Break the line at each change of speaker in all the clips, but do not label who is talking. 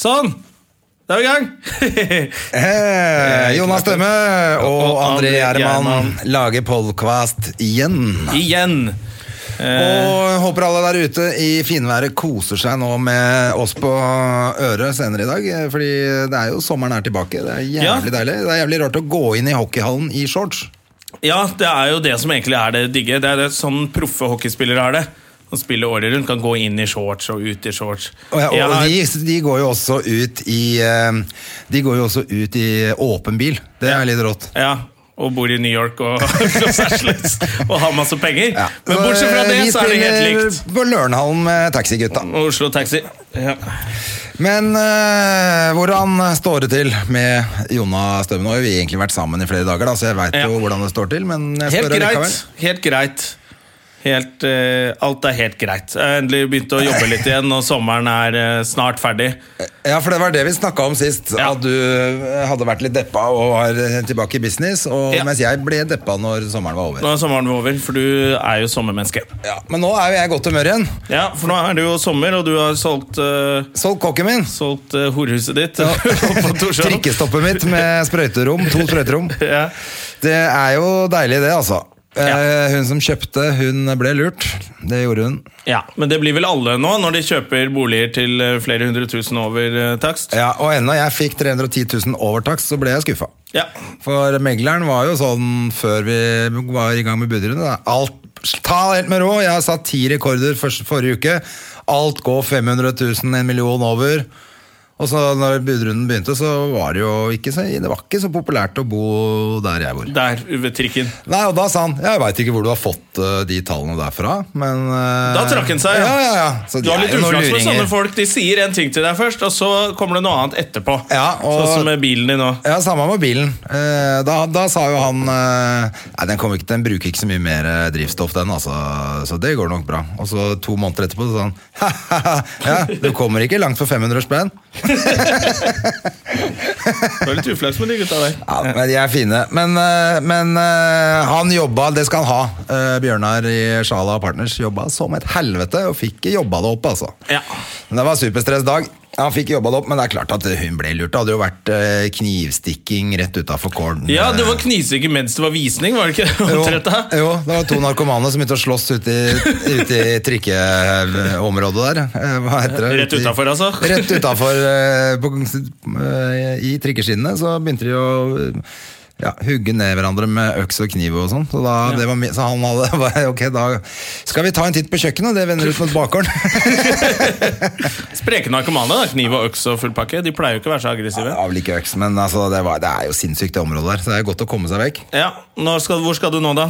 Sånn! Da er vi i gang.
Eh, Jonas Stømme og André Gjerman lager podkast igjen.
Igjen.
Og
Eh.
håper alle der ute i finværet koser seg nå med oss på øret senere i dag. eh, Fordi det er jo sommeren er tilbake. Det er
Ja.
jævlig deilig. Det er jævlig rart å gå inn i hockeyhallen i shorts.
Ja, det er jo det som egentlig er det digge. Det er det sånn proffe hockeyspillere har det. Som spiller året rundt. Kan gå inn i shorts og ut i shorts.
Og, ja,
Jeg
og
har-
de, de går jo også ut i eh, De går jo også ut i åpen bil. Det er litt rått.
Ja, og bor i New York og Los Angeles og har masse penger.
Ja.
Men bortsett fra
Så, eh,
det,
vi
så er det helt
spiller
likt.
På Lørenhallen med taxigutta.
Og Oslo Taxi. Ja.
Men eh, hvordan står det til med Jonna Stømme? Nå har vi egentlig vært sammen i flere dager, da, så jeg veit
Ja.
jo hvordan det står til. Men jeg
Helt
spør allikevel.
greit. Helt greit. Helt, eh, alt er helt greit. Jeg har endelig begynt å jobbe litt igjen, og sommeren er eh, snart ferdig.
Eh, Ja, for det var det vi snakka om sist.
Ja.
At du eh, hadde vært litt deppa og var eh, tilbake i business. Og,
Ja.
Mens jeg ble deppa når sommeren var over.
Nå er sommeren over, for du er jo sommermenneske.
Ja, men nå er jo jeg i godt humør igjen.
Ja, For nå er det jo sommer, og du har solgt, eh,
Solgt kokken min.
solgt eh, horehuset ditt. på Torshov.
Trikkestoppet mitt med sprøyterom. To sprøyterom.
Ja.
Det er jo deilig, det, altså. Eh,
Ja.
Hun som kjøpte, hun ble lurt. Det gjorde hun.
ja, Men det blir vel alle nå, når de kjøper boliger til eh, flere hundre tusen over eh, takst?
Ja, Og ennå jeg fikk 310 000 overtakst, så ble jeg skuffa.
Ja.
For megleren var jo sånn før vi var i gang med budrunde. da. Alt, ta det helt med ro. Jeg har satt ti rekorder først, forrige uke. Alt går 500 000, en million over. Og så når budrunden begynte, så var det jo ikke så, det var ikke så populært å bo der jeg bor.
Der ved trikken.
Nei, og da sa han Jeg veit ikke hvor du har fått eh, de tallene derfra, men eh,
Da trakk han seg,
Ja, ja, ja. Så
Du
de
har
er
litt
jo noen
uflaks med
luringer.
sånne folk. De sier en ting til deg først, og så kommer det noe annet etterpå.
Ja, og-
Sånn som med bilen din nå.
Ja, samme med bilen. Eh, Da, da sa jo han eh, Nei, den, kommer ikke, den bruker ikke så mye mer eh, drivstoff, den, altså. Så det går nok bra. Og så to måneder etterpå så sa han «Hahaha, ja, du kommer ikke langt for 500 spenn.
Du har litt uflaks med de gutta der.
Ja, men de er fine. Men, eh, men eh, han jobba, det skal han ha. Eh, Bjørnar i Sjala Partners jobba som et helvete og fikk jobba det opp, altså.
Ja.
Men det var superstressdag. Han fikk jobba det opp, men det er klart at hun ble lurt. Det hadde jo vært eh, knivstikking rett utafor kålen.
ja, det var knivstikking mens det var visning, var det ikke?
Jo,
Omtrent da?
jo, det var to narkomane som begynte å slåss ute i, ute i trikkeområdet der. Eh, Hva heter det?
Rett
Ute i-
utenfor, altså?
Rett utafor eh, i trikkeskinnene. Så begynte de å eh, ja, hugge ned hverandre med øks og kniv og sånn. Så, da, det var mi- så han hadde bare, Ok, da skal vi ta en titt på kjøkkenet. Det vender ut mot bakgården.
Spreke narkomane, da. Kniv og øks og full pakke. De pleier jo ikke å være så aggressive.
Ja, vel ikke øks, men altså, det, var, det er jo sinnssykt, det området der. Så det er godt å komme seg vekk.
Ja, når skal, Hvor skal du nå, da?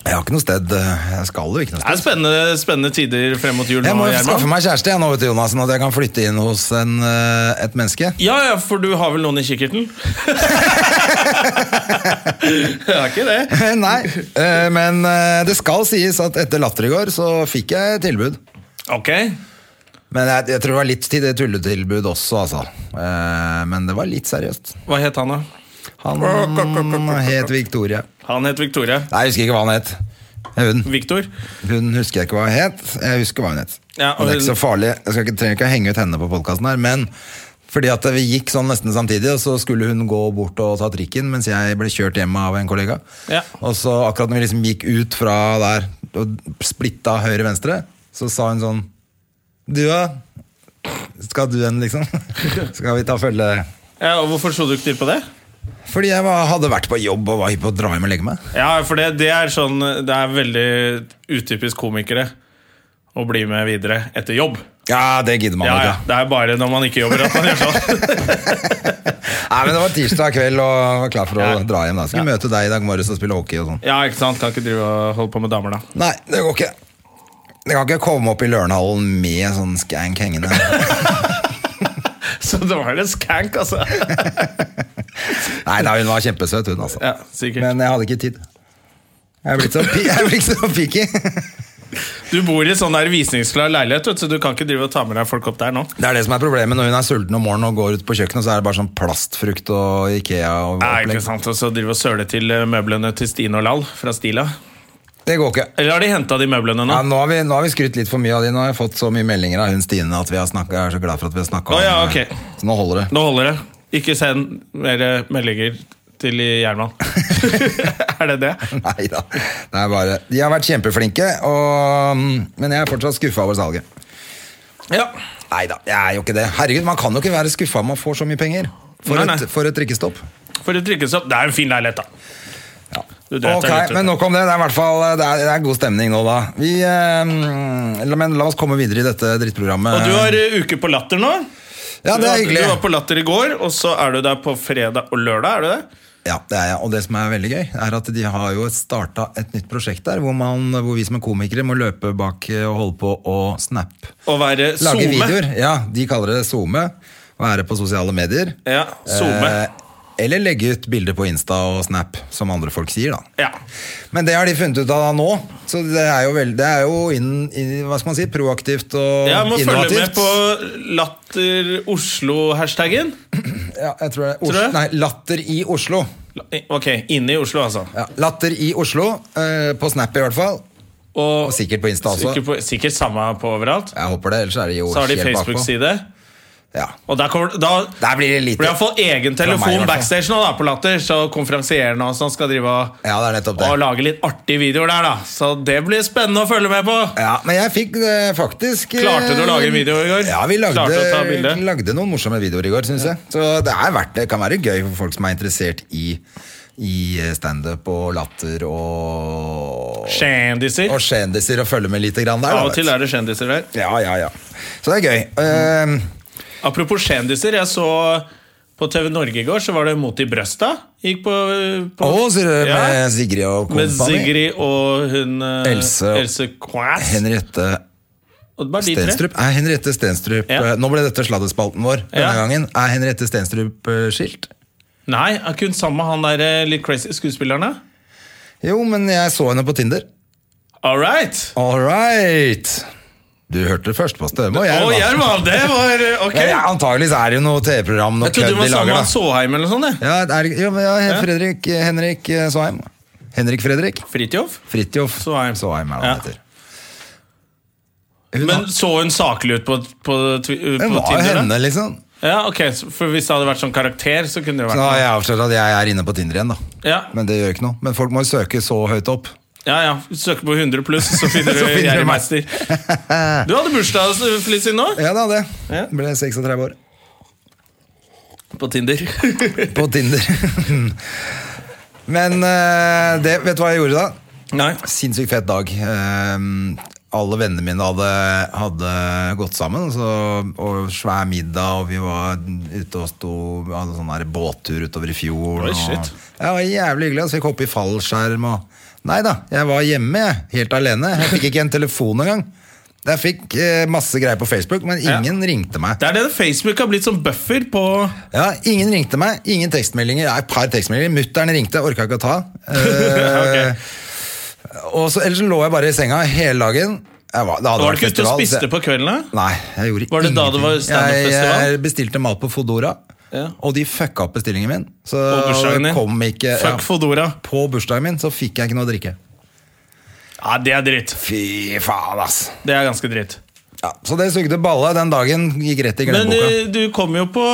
Jeg har ikke noe sted. eh, Jeg skal jo ikke noe sted.
Det er spennende, spennende tider frem mot jul
Jeg
nå,
må jo skaffe
Gjerman.
meg kjæreste jeg nå, vet du, Jonas, sånn at jeg kan flytte inn hos en, eh, et menneske.
Ja, ja, for du har vel noen i kikkerten? Det er ikke det.
Nei, eh, men eh, det skal sies at etter Latter i går så fikk jeg et tilbud.
Ok.
Men jeg, jeg tror det var litt til det tulletilbud også, altså. Eh, Men det var litt seriøst.
Hva het han, da?
Han het Victoria.
Han het Victoria.
Nei, jeg husker ikke hva han het. Hun.
Victor?
Hun husker jeg ikke hva hun het. Jeg husker hva hun het.
Ja, og
og det er
hun-
ikke så farlig. Jeg skal ikke, trenger ikke å henge ut henne på podkasten her, men fordi at vi gikk sånn nesten samtidig, og så skulle hun gå bort og ta trikken mens jeg ble kjørt hjem av en kollega.
Ja.
Og så akkurat når vi liksom gikk ut fra der og splitta høyre-venstre, så sa hun sånn Du, ja? Skal du hen, liksom? Skal vi ta følge?
Ja, og Hvorfor slo du ikke til på det?
Fordi jeg var, hadde vært på jobb og var hypp på å dra hjem og legge meg.
Ja, for det, det er sånn Det er veldig utypisk komikere å bli med videre etter jobb.
Ja, det gidder man
Ja, ja,
ikke.
Det er bare når man ikke jobber at man gjør sånn.
Nei, men Det var tirsdag kveld og jeg var klar for å
Ja.
dra hjem. da Skulle
Ja.
møte deg i dag morges og spille hockey og sånn.
Ja, ikke sant? Kan ikke drive og holde på med damer, da.
Nei, det går ikke. Jeg kan ikke komme opp i Lørenhallen med sånn skank hengende.
Så det var en skank, altså.
Nei, nei, hun var kjempesøt, hun, altså.
Ja, sikkert.
Men jeg hadde ikke tid. Jeg er blitt så, pi jeg er blitt så picky.
Du bor i sånn der visningsklar leilighet, vet du, så du kan ikke drive og ta med deg folk opp der nå.
Det er det som er problemet når hun er sulten om morgenen og går ut på kjøkkenet, så er det bare sånn plastfrukt og Ikea og
Nei, ikke
opplegg.
sant, og så drive og søle til eh, møblene til Stine og Lall fra Stila.
Det går ikke.
Eller har de henta de møblene nå?
Ja, nå, har vi, nå har vi skrytt litt for mye av de. Nå har jeg fått så mye meldinger av hun Stine at vi har snakket, jeg er så glad for at vi har snakka
Å, ja, ok.
Så nå holder det.
Nå holder det. Ikke send mer eh, meldinger til Gjerman. er det det?
Nei da. Det er bare De har vært kjempeflinke, og, mm, men jeg er fortsatt skuffa over salget.
Ja.
Nei da, jeg er jo ikke det. Herregud, man kan jo ikke være skuffa om man får så mye penger. For,
Nei, nei.
Et, for et drikkestopp.
For å trykkes opp. Det er en fin leilighet, da. Du dreit deg
Ok,
litt ut.
men nok om det. Det er i hvert fall eh, det er, det er god stemning nå, da. Vi, eh, la- men la oss komme videre i dette drittprogrammet.
Og du har eh, uke på Latter nå.
ja, det er
Du var-
hyggelig.
Du var på Latter i går, og så er du der på fredag og lørdag. er du det?
Ja, det er jeg. Og det som er veldig gøy, er at de har jo starta et nytt prosjekt der, hvor, man, hvor vi som er komikere må løpe bak eh, og holde på å snap.
Å være
Lage
SoMe.
videoer. Ja, de kaller det SoMe. Være på sosiale medier.
Ja, SoMe.
Eh, eller legge ut bilder på Insta og Snap, som andre folk sier, da.
Ja.
Men det har de funnet ut av nå, så det er jo, veld, det er jo inn, i- hva skal man si, proaktivt og
Jeg må følge med
innovativt.
på Latter Oslo-hashtagen.
ja, jeg tror det. er Os-
Tror du?
Nei, Latter i Oslo.
eh, Ok, inne i Oslo, altså.
Ja, latter i Oslo, eh, på Snap i hvert fall. Og sikkert altså. på Insta også.
Sikkert, på, sikkert samme på overalt.
Jeg håper det, ellers er de jo
Så har de
helt bakpå.
Facebook-side.
Ja.
Og der, kommer, da
Der blir det lite
blir det iallfall egen
Fra meg, i hvert
telefon
fall.
backstage nå, da, på Latter. Så konferansierende og sånn skal drive og,
Ja, det er nettopp det.
og lage litt artige videoer der, da. Så det blir spennende å følge med på.
Ja, men jeg fikk eh, faktisk eh,
Klarte du å lage en video i går?
Ja, vi lagde,
Klarte å ta bilde?
lagde noen morsomme videoer i går, syns jeg. Så det, er verdt, det kan være gøy for folk som er interessert i, i eh, standup og latter og
Kjendiser.
Og kjendiser og følge med lite grann der. da,
Av og
vet
til
du.
er det kjendiser der.
Ja, ja, ja. Så det er gøy. Eh,
Apropos kjendiser, jeg så på TV Norge i går, så var det Mot i brøsta. Gikk på, på
Å, sier du,
Mm. Ja.
med Sigrid og
Med
kompani.
Sigrid og hun eh,
Else og-
Else Kvass.
Henriette
Og det var de tre.
Stenstrup? Er Henriette Stenstrup
Ja.
eh, Nå ble dette sladdespalten vår denne
Ja.
gangen. Er Henriette Stenstrup eh, skilt?
Nei, er ikke hun sammen med han der eh, litt crazy skuespilleren? da?
Jo, men jeg så henne på Tinder.
All right!
All right! Du hørte det først på Støme
Å,
og jeg. da.
Gjerman, det var eh, ok.
Men jeg- Antagelig så er det jo noe TV-program noe
Jeg trodde hun
kødd de
var sammen
lager,
med
da.
han Såheim eller noe sånt. det.
Ja, er, det- jo, men ja,
Ja.
Fredrik, Henrik eh, Svaheim. Henrik Fredrik?
Fridtjof.
Fridtjof
Svaheim.
Svaheim er det
Ja.
han heter. Hun,
Men så hun saklig ut på, på, twi- eh, på
hun var jo
Tinder?
henne,
da?
liksom.
Ja, ok, så- For hvis det hadde vært sånn karakter, så kunne det jo
Så
vært
da har
noe.
jeg avslørt at jeg er inne på Tinder igjen, da.
Ja.
Men det gjør ikke noe. Men folk må jo søke så høyt opp.
Ja, ja. Søk på 100 pluss, så finner du
Så finner du
Jerry
meg.
Meister. Du hadde bursdag, Felicie, nå?
Ja da, det.
Ja.
Ble 36 år.
På Tinder.
På Tinder. Men eh, det, vet du hva jeg gjorde da?
Nei.
Sinnssykt fet dag. Ehm, alle vennene mine hadde, hadde gått sammen, så, og svær middag, og vi var ute og sto, hadde sånn der båttur utover i fjor.
Oi,
og-
shit.
Ja, det var jævlig hyggelig, og så fikk jeg hoppe i fallskjerm. Og... Nei da, jeg var hjemme, jeg, helt alene. Jeg fikk ikke en telefon engang. Jeg fikk eh, masse greier på Facebook, men
Ja.
ingen ringte meg.
Det er det Facebook har blitt som buffer på
Ja, Ingen ringte meg. Ingen tekstmeldinger. Ja, et par tekstmeldinger. Mutter'n ringte, orka ikke å ta. Eh, og så, ellers så lå jeg bare i senga hele dagen. Jeg var, det hadde
Var
vært
det ikke ute og
festival, så
spiste
jeg-
på kvelden? da?
Nei, jeg gjorde
Var det da det
ingenting.
var standup-festival?
Jeg, jeg bestilte mat på Fodora,
Ja.
og de fucka opp bestillingen min. Så
På bursdagen
det
din?
kom ikke ja,
Fuck Fodora.
På bursdagen min så fikk jeg ikke noe å drikke.
Ja, det er dritt.
Fy faen, ass.
Det er ganske dritt.
Ja, så det sugde balle. Den dagen gikk rett i
Men
glemmeboka.
eh, du kom jo på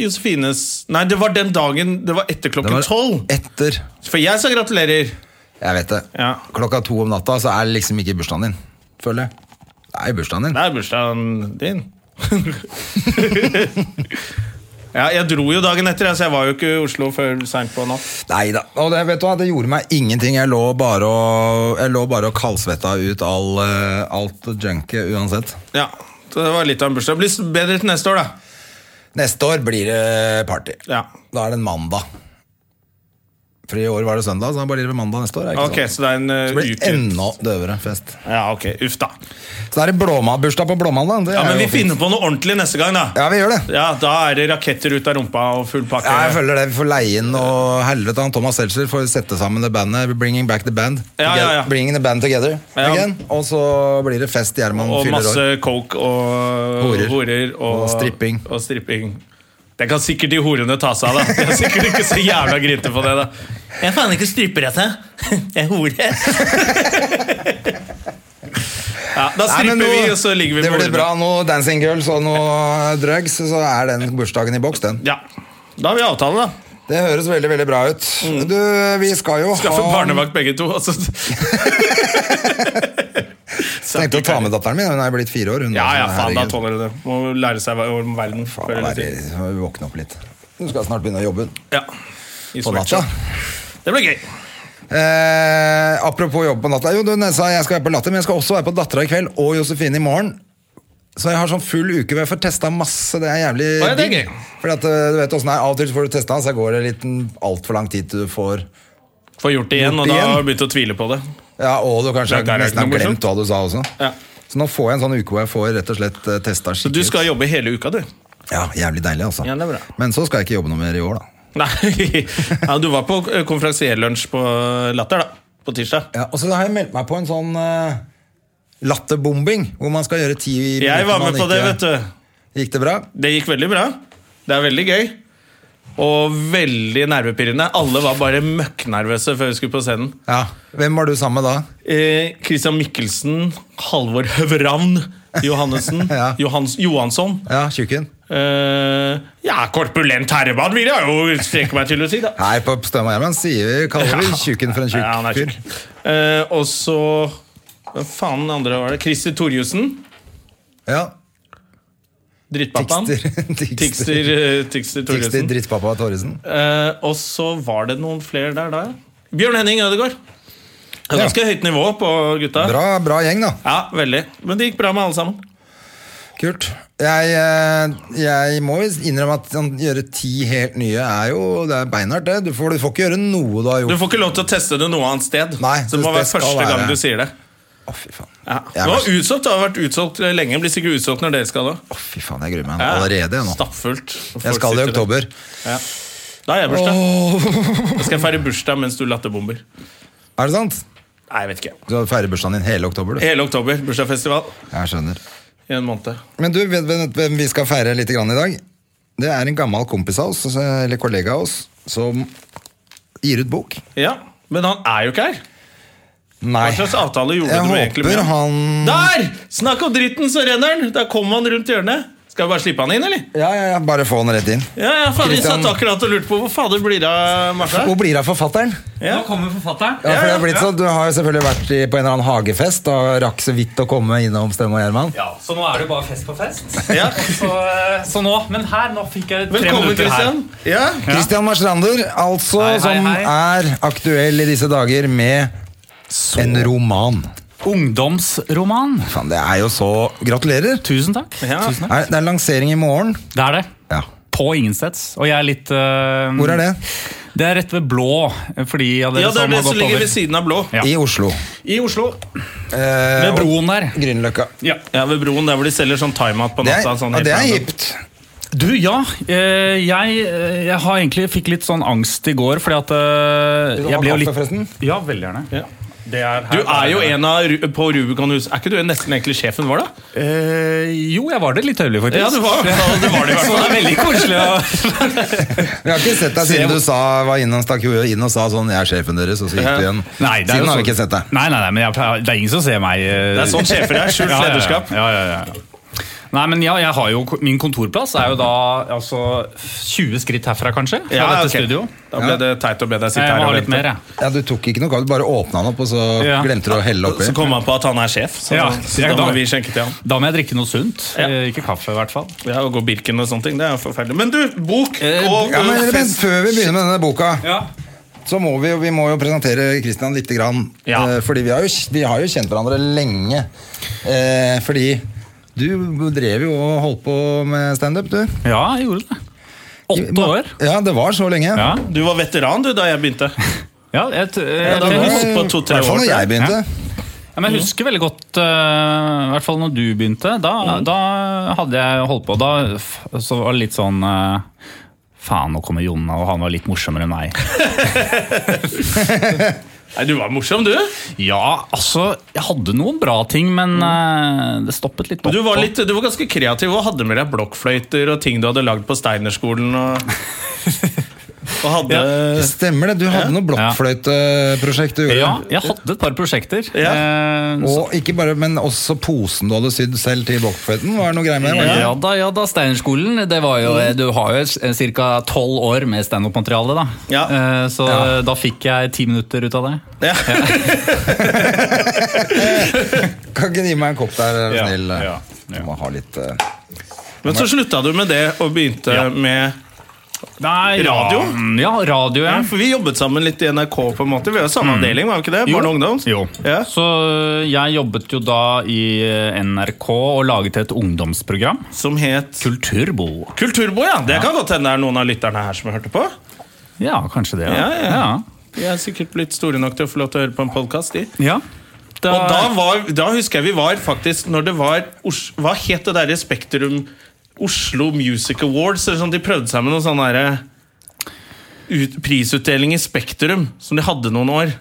Josefines Nei, det var den dagen Det var etter
Det
klokken
var
tolv.
Etter
For jeg sa gratulerer.
Jeg vet det.
Ja.
Klokka to om natta så er det liksom ikke bursdagen din. Føler jeg. Det er jo bursdagen din.
Det er bursdagen din. ja, jeg dro jo dagen etter, altså. jeg, så jeg var jo ikke i Oslo før seint på natt.
Nei da. Og det, vet du hva, det gjorde meg ingenting. Jeg lå bare og, jeg lå bare og kaldsvetta ut all, eh, alt junket uansett.
Ja, så det var litt av en bursdag. Blir bedre til neste år, da.
Neste år blir det party.
Ja.
Da er det en mandag. For i år var det søndag, så han bare lirer på mandag neste år. er det ikke
Ok, så det er en
Så
uh,
blir det
uke
enda døvere fest.
Ja, ok, uff da
Så det er det blåmann- bursdag på blåmandag. det
Ja,
er
men vi
jo fint.
finner på noe ordentlig neste gang da
Ja, vi gjør det.
Ja, da er det raketter ut av rumpa og full pakke
Ja, jeg føler det. Vi får leie inn og helvete han Thomas Seltzer får sette sammen det bandet. Bringing back the band.
Ja, ja, ja.
Toge- Bringing the band together
Ja.
again. Og så blir det fest Gjerman
Og
fyller
masse
år.
coke og
Horer.
horer og,
Og stripping.
og stripping. Det kan sikkert de horene ta seg av. da De er sikkert ikke så jævla grinte på det. da Jeg er faen ikke stripper, jeg. sa. Jeg er hore. ja, da
Nei,
stripper
men nå-
vi, og så ligger vi
det
med
blir
horene.
bra. Noe Dancing Girls og noe drugs, så er den bursdagen i boks, den.
Ja. Da har vi avtale, da.
Det høres veldig veldig bra ut. Du, vi skal jo
Mm. Skaffe
ha
barnevakt begge to. Altså.
Tenkte å ta med datteren min. Hun er blitt fire år. Hun,
Ja, ja,
altså,
faen, da
herregud.
tåler du det. Må lære seg om verden. før
Bare
eller siden.
må vi våkne opp litt. Hun skal snart begynne å jobbe hun,
Ja. I
på natta.
sweatshop. Det blir gøy.
Eh, apropos jobb på natta. Jo, du sa jeg skal være på Latter, men jeg skal også være på Dattera i kveld og Josefine i morgen. Så jeg har sånn full uke hvor jeg får testa masse. Det er jævlig
Å, ja, det er
digg.
gøy.
Fordi at, eh, du vet hvordan det er, Av og til så får du testa, så går det litt altfor lang tid til du får
Får gjort det igjen,
Gjort
og
det
da
igjen.
har jeg begynt å tvile på det.
Ja, Og du kanskje
Ja, der er det
nesten har
ikke noe morsomt.
glemt hva du sa også.
Ja.
Så nå får jeg en sånn uke hvor jeg får rett og slett eh, testa
Så du
skikkelig.
skal jobbe hele uka, du?
Ja, Jævlig deilig, altså.
Ja, det er bra.
Men så skal jeg ikke jobbe noe mer i år, da.
Nei, ja, du var på eh, konferansierlunsj på eh, Latter, da. På tirsdag.
Ja, og så har jeg meldt meg på en sånn eh, latterbombing, hvor man skal gjøre ti minutter
Jeg var
man
med på det,
ikke-
vet du.
Gikk det bra?
Det gikk veldig bra. Det er veldig gøy. Og veldig nervepirrende. Alle var bare møkknervøse før vi skulle på scenen.
Ja. Hvem var du sammen med da?
Eh, Christian Mikkelsen, Halvor Høvravn Johannessen,
Ja.
Johans Johansson.
Ja, tjukken.
Eh, ja, korpulent herremann vil jeg jo strekke meg til å si, da.
Nei, på Støm og Gjerman sier vi, kaller vi tjukken for en tjukk
Ja, han er
fyr.
tjukk. Eh, og så Hva faen andre var det? Christer Torjussen.
Ja.
Drittpappaen.
Tikster- Tikster.
Tikster, eh, Tikster
Tikster
Torjussen.
drittpappa Torresen.
Eh, og så var det noen flere der da. ja. Bjørn Henning Ødegaard. Det er Ganske høyt nivå på gutta.
Bra, bra gjeng, da.
Ja, veldig. Men det gikk bra med alle sammen.
Kult. Jeg, eh, jeg må jo innrømme at å gjøre ti helt nye er jo Det er beinhardt, det. Du får, du får ikke gjøre noe du har
Du
gjort.
får ikke lov til å teste det noe annet sted.
Nei,
så det må
det
være
skal
første gang
være-
du sier det.
Å, fy faen.
Ja.
Jeg
Det
er
var
verst.
utsolgt, det har vært utsolgt lenge. Blir sikkert utsolgt når dere skal da.
Å, fy faen, jeg gruer meg
Ja.
allerede jeg, nå.
Stappfullt. Og
Jeg
folk
skal
sitter
i
der.
oktober.
Da har jeg bursdag.
Åh.
Da skal jeg feire bursdag mens du latterbomber.
Er det sant?
Nei, jeg vet ikke.
Du feirer bursdagen din hele oktober, du.
Hele oktober. Bursdagsfestival
Jeg skjønner.
i en måned.
Men du, vet vet- vet hvem vi skal feire litt grann i dag? Det er en gammel kompis av oss, altså, eller kollega av oss, som gir ut bok.
Ja, Men han er jo ikke her.
Nei.
Hva slags avtale gjorde
Jeg
du egentlig med
håper han-
Der! Snakk om dritten, så renner den! Da kom han rundt hjørnet. Skal vi bare slippe han inn, eller?
Ja, ja, ja, bare få han rett inn.
Ja, ja, faen, Vi
Christian-
satt akkurat og lurte på hvor fader blir det av Martha.
Hvor blir det av forfatteren?
Ja.
kommer forfatteren.
Ja, for det har
Ja, ja,
blitt sånn, Du har jo selvfølgelig vært i, på en eller annen hagefest og rakk så vidt å komme innom Stemme og Gjerman.
Ja, Så nå er det jo bare fest på fest.
Ja.
Så, eh, så nå, Men her, nå fikk jeg tre
Velkommen,
minutter her.
Christian. Ja.
Christian Marstrander, altså,
Hei, hei,
som
hei.
er aktuell i disse dager med en roman.
Ungdomsroman.
Faen, det er jo så Gratulerer!
Tusen takk.
Ja.
Tusen takk.
Er, det er lansering i morgen.
Det er det.
Ja.
På ingensteds. Og jeg er litt eh,
Hvor er det?
Det er rett ved blå. Fordi ja,
ja, det er det som ligger ved siden av blå.
Ja.
I Oslo.
I Oslo.
Eh,
Ved broen der.
Grünerløkka.
Ja.
Ja, Ved broen, der hvor de selger sånn time-out på
Det er,
natta. sånn
ja, det er
helt random.
hipt.
Du, ja. eh, Jeg, eh, jeg har egentlig fikk litt sånn angst i går, fordi at eh,
Vil du ha
jeg ble jo
kaffe,
litt
forresten?
Ja, veldig gjerne.
Ja. Du er jo en av Ru- på Rubicon-hus. Er ikke du nesten egentlig sjefen vår, da?
Eh, jo, jeg var det litt øyeblikk, faktisk.
Ja, du var, det var
Så det
det i hvert
er
fall.
veldig koselig å
Vi har ikke sett deg siden du sa, var innom, stakk hodet inn og sa sånn 'jeg er sjefen deres', og så gikk du igjen.
Nei, det er jo
siden har
sånn-
vi ikke sett deg.
Nei, nei, nei, men jeg, pleier- det er ingen som ser meg. eh.
Det er sånn sjefer er. Skjult
Ja, ja, ja.
lederskap.
Ja, ja, ja. Nei, men ja, jeg har jo, Min kontorplass er jo da altså 20 skritt herfra, kanskje. Fra
Ja,
dette
ok.
studio.
Da ble det teit å be deg sitte
Jeg
her
må ha
og
litt
vente.
mer, jeg.
Ja, Du tok ikke noe kaffe, du bare åpna den opp, og så
Ja.
glemte du å helle oppi.
Så kom han på at han er sjef, så,
Ja,
så
jeg
da må
da.
vi skjenke til han.
Da må jeg drikke noe sunt.
Ja.
Eh, Ikke kaffe, i hvert fall.
Ja, Å gå Birken og sånne ting, det er jo forferdelig. Men du, bok
Eh,
og
Ja,
og
men, men
fest.
Før vi begynner med denne boka,
Ja.
så må vi, jo- vi må jo presentere Christian lite grann.
Ja.
Eh, Fordi vi har, jo, vi har jo kjent hverandre lenge. Eh, fordi du drev jo og holdt på med standup, du.
ja, jeg gjorde det. Åtte år?
Ja, det var så lenge.
Ja.
Du var veteran du da jeg begynte.
ja jeg, t- jeg,
da
jeg,
Det var-
var
husker,
det- på to-tre
I hvert fall
år,
når jeg
tror jeg.
begynte.
ja, men jeg husker veldig godt eh, I hvert fall når du begynte. Da, da hadde jeg holdt på. Da f- så var det litt sånn eh, Faen, nå kommer Jonna, og han var litt morsommere enn meg.
Nei, Du var morsom, du.
Ja, altså, jeg hadde noen bra ting, men eh, det stoppet litt opp.
Mm. Du var,
og-
litt, du var ganske kreativ og hadde med deg blokkfløyter og ting du hadde lagd på Steinerskolen. Og, og hadde
Det Stemmer det. Du hadde noe blokkfløyteprosjekt du gjorde.
Ja, jeg hadde et par prosjekter.
Ja.
Eh, så-
Og ikke bare, men også posen du hadde sydd selv til blokkfløyten. Var det noe greier med det? var det?
Ja da, ja da, Steinerskolen. Det var jo,
Mm.
du har jo ca. tolv år med standup-materiale, da.
Ja.
Eh, Så da fikk jeg ti minutter ut av det.
ja.
Kan ikke du gi meg en kopp der, er du
Ja,
snill?
ja, ja.
Du må ha litt eh,
Men så slutta du med det og begynte med
Nei,
Radio?
Ja, radio, ja.
ja, For vi jobbet sammen litt i NRK, på en måte. Vi var jo samme avdeling, var vi ikke det?
Jo.
Barne og ungdom.
Jo.
Ja.
Så eh, jeg jobbet jo da i eh, NRK og laget et ungdomsprogram.
Som het
Kulturbo.
Kulturbo, ja. Det kan godt hende det er noen av lytterne her som hørte på.
Ja, kanskje det.
Ja, ja.
ja.
De er sikkert blitt store nok til å få lov til å høre på en podkast, de.
ja. Da,
Og da, var, da husker jeg vi var faktisk Når det var Os- Hva het det derre Spektrum Oslo Music Awards? Eller sånn, de prøvde seg med noen sånne derre ut, prisutdeling i Spektrum, som de hadde noen år.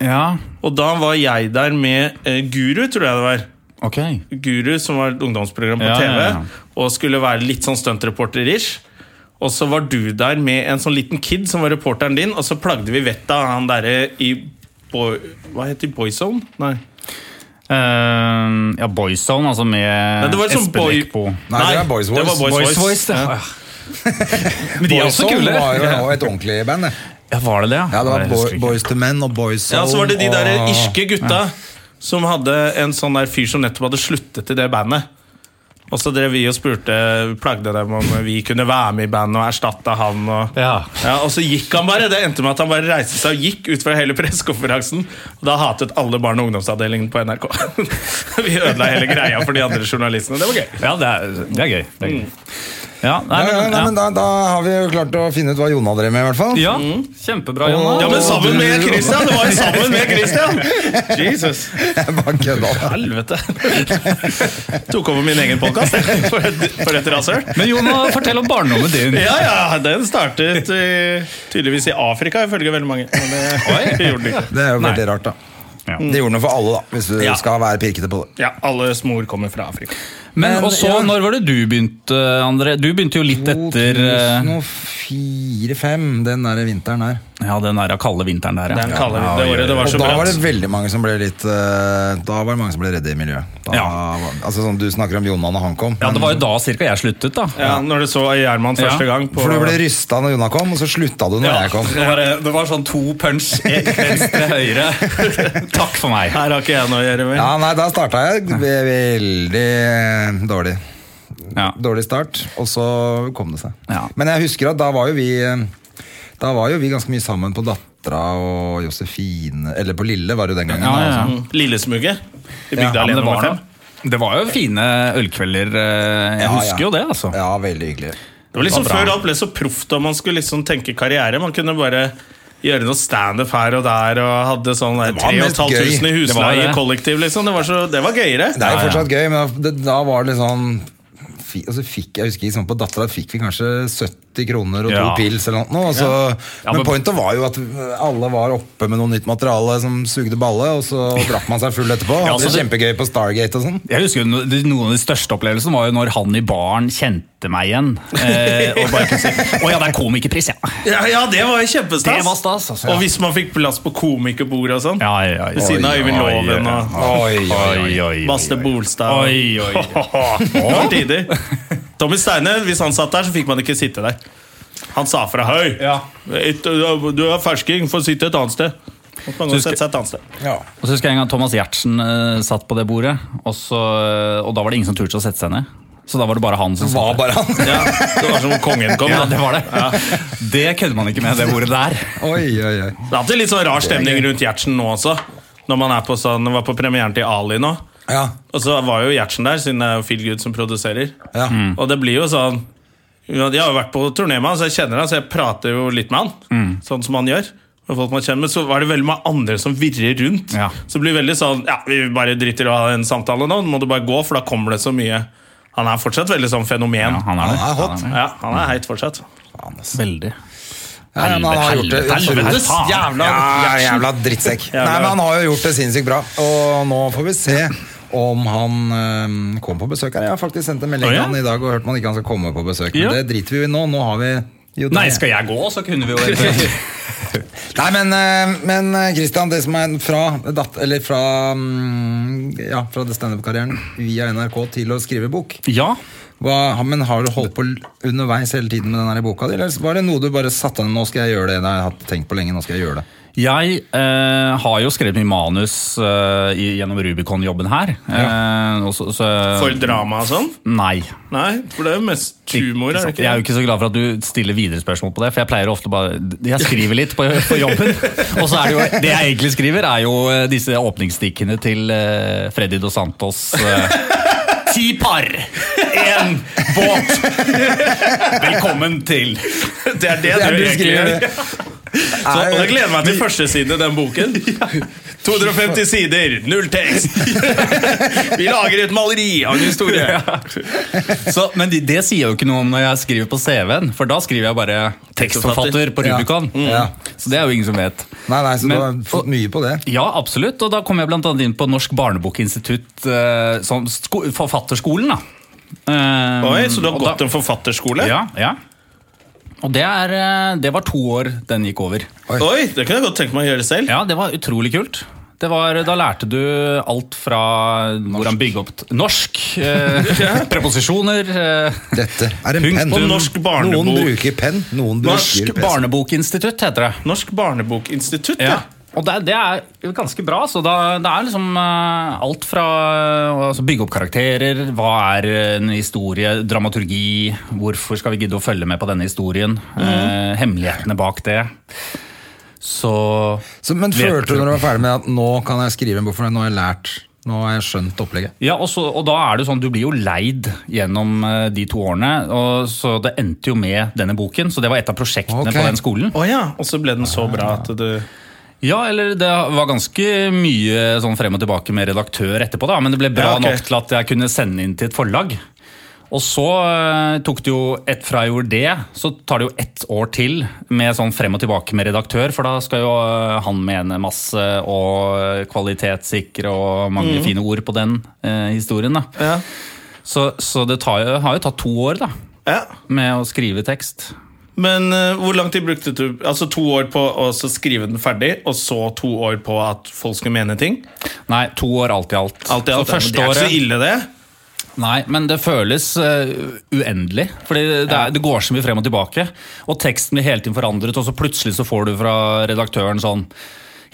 Ja,
Og da var jeg der med eh, Guru, tror jeg det var.
ok.
Guru, som var et ungdomsprogram på
Ja,
TV,
ja, ja.
og skulle være litt sånn stuntreporter-ish. Og så var du der med en sånn liten kid som var reporteren din, og så plagde vi vettet av han derre i boy, Hva heter de? Boyzone? Nei.
Eh, ja, Boyzone, altså med
Nei, det var sånn
Espen
boy...
Eckbo.
Nei, det er Boys
det var
Voice.
Boys
Boys Voice.
Voice, ja. Men de er også
Boyzone
kule.
var jo nå et ordentlig band. det.
Ja, var det det?
Ja, det var
Jeg husker
Bo
ikke.
Boys to Men og Boys
Ja, så var det de der
og-
irske gutta som hadde en sånn der fyr som nettopp hadde sluttet i det bandet. Og så drev vi og spurte, plagde dem om vi kunne være med i bandet og erstatte han. Og,
Ja.
Ja, og så gikk han bare. Det endte med at han bare reiste seg og gikk ut fra hele pressekonferansen. Og da hatet alle barne- og ungdomsavdelingen på NRK. vi ødela hele greia for de andre journalistene. Det var gøy.
Ja, det er, det er gøy. Det er gøy. Ja, nei,
Ja, ja,
men,
nei,
ja.
men da, da har vi jo klart å finne ut hva Jonna drev med, i hvert fall.
ja, Mm. kjempebra,
Åh.
Ja,
Jonna.
men sammen med Christian! Det var jo sammen med Christian! Jesus.
Jeg bare kødda.
Helvete! Tok over min egen podkast for, et- for et rasøl.
Men Jonna, fortell om barndommen din.
Ja, ja, den startet eh, tydeligvis i Afrika, ifølge veldig mange. Men eh, det, det gjorde den ikke.
Det er jo veldig rart, da.
Ja.
Det gjorde noe for alle, da, hvis du
Ja.
skal være pirkete på det.
Ja, alles mor kommer fra Afrika.
Men
Men,
og så,
ja.
når var det du begynte, André? Du begynte jo litt etter eh,
2004-2005, den der vinteren her.
Ja, den der kalde vinteren der,
Den kaller vi
Ja,
det året det var
Og
så
da var
bratt.
det veldig mange som ble litt eh, Da var det mange som ble redde i miljøet. Da,
Ja.
var, altså sånn, Du snakker om Jonan og han kom.
Ja, det
men-
var jo da cirka jeg sluttet, da.
Ja, når du så Gjerman første
Ja.
gang på
for du ble rysta når Jonan kom, og så slutta du når
Ja,
jeg kom.
det var, det var sånn to punch, ett venstre, høyre. Takk for meg.
Her har ikke jeg noe å gjøre med.
Ja, nei, Da starta jeg ve- veldig eh, dårlig.
Ja.
Dårlig start, og så kom det seg.
Ja.
Men jeg husker at da var jo vi eh, Da var jo vi ganske mye sammen på Dattera og Josefine Eller på Lille, var det jo den gangen.
Ja, ja,
da,
ja.
altså.
Mm. Lillesmuget. I bygda
Ja, men
alene
det,
nummer
var
fem.
noe- det var jo fine ølkvelder. eh, Jeg
Ja,
husker
ja.
jo det, altså.
Ja, veldig hyggelig.
Det var
Det var
liksom
bra.
Før alt ble så proft og man skulle liksom tenke karriere. Man kunne bare gjøre noe standup her og der og hadde sånn der
Det var mest
3500 i
gøy.
Det var
husleie
det.
i kollektiv, liksom. Det var, så, det var gøyere.
Det er jo
Ja, ja.
fortsatt gøy, men da, da var det sånn fi- altså fikk, jeg husker sånn På dattera fikk vi kanskje 70 kroner og to
Ja.
pils eller noe. Og så,
Ja,
men,
men-
pointet var jo at alle var oppe med noe nytt materiale som sugde balle, og så drakk man seg full etterpå.
Ja,
Hadde
altså,
det kjempegøy på Stargate og sånn.
Jeg husker jo no- de- Noen av de største opplevelsene var jo når han i baren kjente meg igjen. Eh, og bare kunne si 'Å ja, det er komikerpris', ja.
Ja, ja, det var jo kjempestas.
Det var stas, altså, ja.
Og hvis man fikk plass på komikerbordet og sånn.
Ja, ja, ja.
Ved siden av
Oi,
oi,
Øyvind Loven
oi,
og
Oi,
Oi, oi, oi.
Baste Bolstad.
Oi, oi, oi.
Det var tider. Tommy Steine, hvis han satt der, så fikk man ikke sitte der. Han sa fra høy.
Ja.
Et- Du er fersking, får sitte et annet sted. Måtte man
Så
gå og
skal-
sette seg et annet sted.
Ja.
Og så husker jeg en gang Thomas Giertsen eh, satt på det bordet, og, så, eh, og da var det ingen som turte å sette seg ned. Så da var det bare han som
Det
satt
var
der.
bare han.
Ja, det var som om kongen kom.
Ja,
da.
det var det. Det kødder man ikke med, det bordet der.
Oi, oi, oi.
Det er alltid litt sånn rar stemning rundt Gjertsen nå også. Når man er på sånn, var på premieren til Ali nå.
Ja.
Mm.
Og så var jo Gjertsen der, siden det er jo Feelgood som produserer.
Ja.
Og det blir jo sånn Ja, de har jo vært på turné med han, så jeg kjenner han, så jeg prater jo litt med han.
Mm.
Sånn som han gjør. med folk man kjenner, Men så var det veldig mange andre som virrer rundt.
Ja.
Så det blir veldig sånn Ja, vi bare driter i å ha en samtale nå, nå må du bare gå, for da kommer det så mye Han er fortsatt veldig sånn fenomen.
Ja, han er det.
Han er hot.
det.
Ja, han er heit fortsatt.
Veldig.
Nei, men han har gjort det
Helvete, helvete,
utrolig
faen.
jævla, ja, jævla drittsekk. Nei, men han har jo gjort det sinnssykt bra, og nå får vi se om han øhm, kommer på besøk her. Jeg har faktisk sendt en melding
Å,
til
ja?
han i dag og hørt om han ikke han skal komme på besøk, men
Ja.
det driter vi i nå. Nå har vi jo det.
Nei, skal jeg gå, så kunne vi jo
Nei, men, øh, men øh, Christian, det som er fra, datt, eller fra, mm, ja, fra det standup-karrieren via NRK til å skrive bok
Ja.
hva, Men har du holdt på underveis hele tiden med den her boka di, eller var det noe du bare satte ned Nå skal jeg gjøre det, det har jeg hatt tenkt på lenge, nå skal jeg gjøre det?
Jeg eh, har jo skrevet mye manus eh, i- gjennom Rubicon-jobben her. Eh, og så, så,
For drama og sånn?
Nei.
Nei, for det er jo mest humor. Er det
Jeg er jo
ikke det?
ikke så glad for at du stiller videre spørsmål på det, for jeg pleier ofte bare Jeg skriver litt på, på jobben, og så er det jo Det jeg egentlig skriver, er jo eh, disse åpningsstikkene til eh, Freddy Dos Santos. Eh, Ti par, én båt. Velkommen til
Det er det,
Det er
du
du
egentlig
skriver.
gjør. Så, og jeg gleder meg til første side i den boken. 250 sider, null tekst. Vi lager et maleri av en historie.
Så, men det, det sier jeg jo ikke noe om når jeg skriver på CV-en, for da skriver jeg bare tekstforfatter Mm. på
Ja. Mm.
Rubicon.
Ja.
Så det er jo ingen som vet.
Nei, nei, så
Men-
du har fått mye på det.
Ja, absolutt. Og da kom jeg bl.a. inn på Norsk barnebokinstitutt, eh, som sko forfatterskolen, da. Eh,
Oi, Så du har
og da-
gått en forfatterskole?
Ja, ja. Og det, er, eh, det var to år den gikk over.
Oi, Det kunne jeg godt tenke meg å gjøre selv.
Ja, det var utrolig kult. Det var, da lærte du alt fra hvordan bygge opp t- norsk, eh, preposisjoner eh,
Dette er en
Punkt
penn.
på
norsk barnebok.
Noen bruker penn, noen
Norsk
bruker pest.
barnebokinstitutt heter det.
Norsk barnebokinstitutt,
Ja.
ja.
Og det, er- det er jo ganske bra. så da, Det er liksom eh, alt fra eh, altså bygge opp karakterer, hva er en historie, dramaturgi, hvorfor skal vi gidde å følge med på denne historien, eh, hemmelighetene bak det. Så
Så, men
Vet-
følte du når du var ferdig med at nå kan jeg skrive en bok for deg, nå har jeg lært, nå har jeg skjønt opplegget?
Ja, og, så, og da er det jo sånn, du blir jo leid gjennom eh, de to årene, og så det endte jo med denne boken, så det var et av prosjektene
Ok.
på den skolen.
Å ja. Og så ble den så bra at du
Ja, eller det var ganske mye sånn frem og tilbake med redaktør etterpå, da, men det ble bra
Ja, ok.
nok til at jeg kunne sende inn til et forlag. Og så eh, tok det jo et fra jeg gjorde det, så tar det jo ett år til med sånn frem og tilbake med redaktør, for da skal jo eh, han mene masse og eh, kvalitetssikre og mange fine ord på den eh, historien. da.
Mm. Ja.
Så, så det tar, jo- har jo tatt to år da,
ja.
med å skrive tekst.
Men eh, hvor lang tid brukte du? Altså To år på å så skrive den ferdig, og så to år på at folk skulle mene ting?
Nei, to år alt i alt.
Alt i alt,
så
ja, men
første
det er
året...
ikke så ille, det.
Nei, men det føles eh, uendelig. Fordi det, er, det går så mye frem og tilbake. Og teksten blir hele tiden forandret, og så plutselig så får du fra redaktøren sånn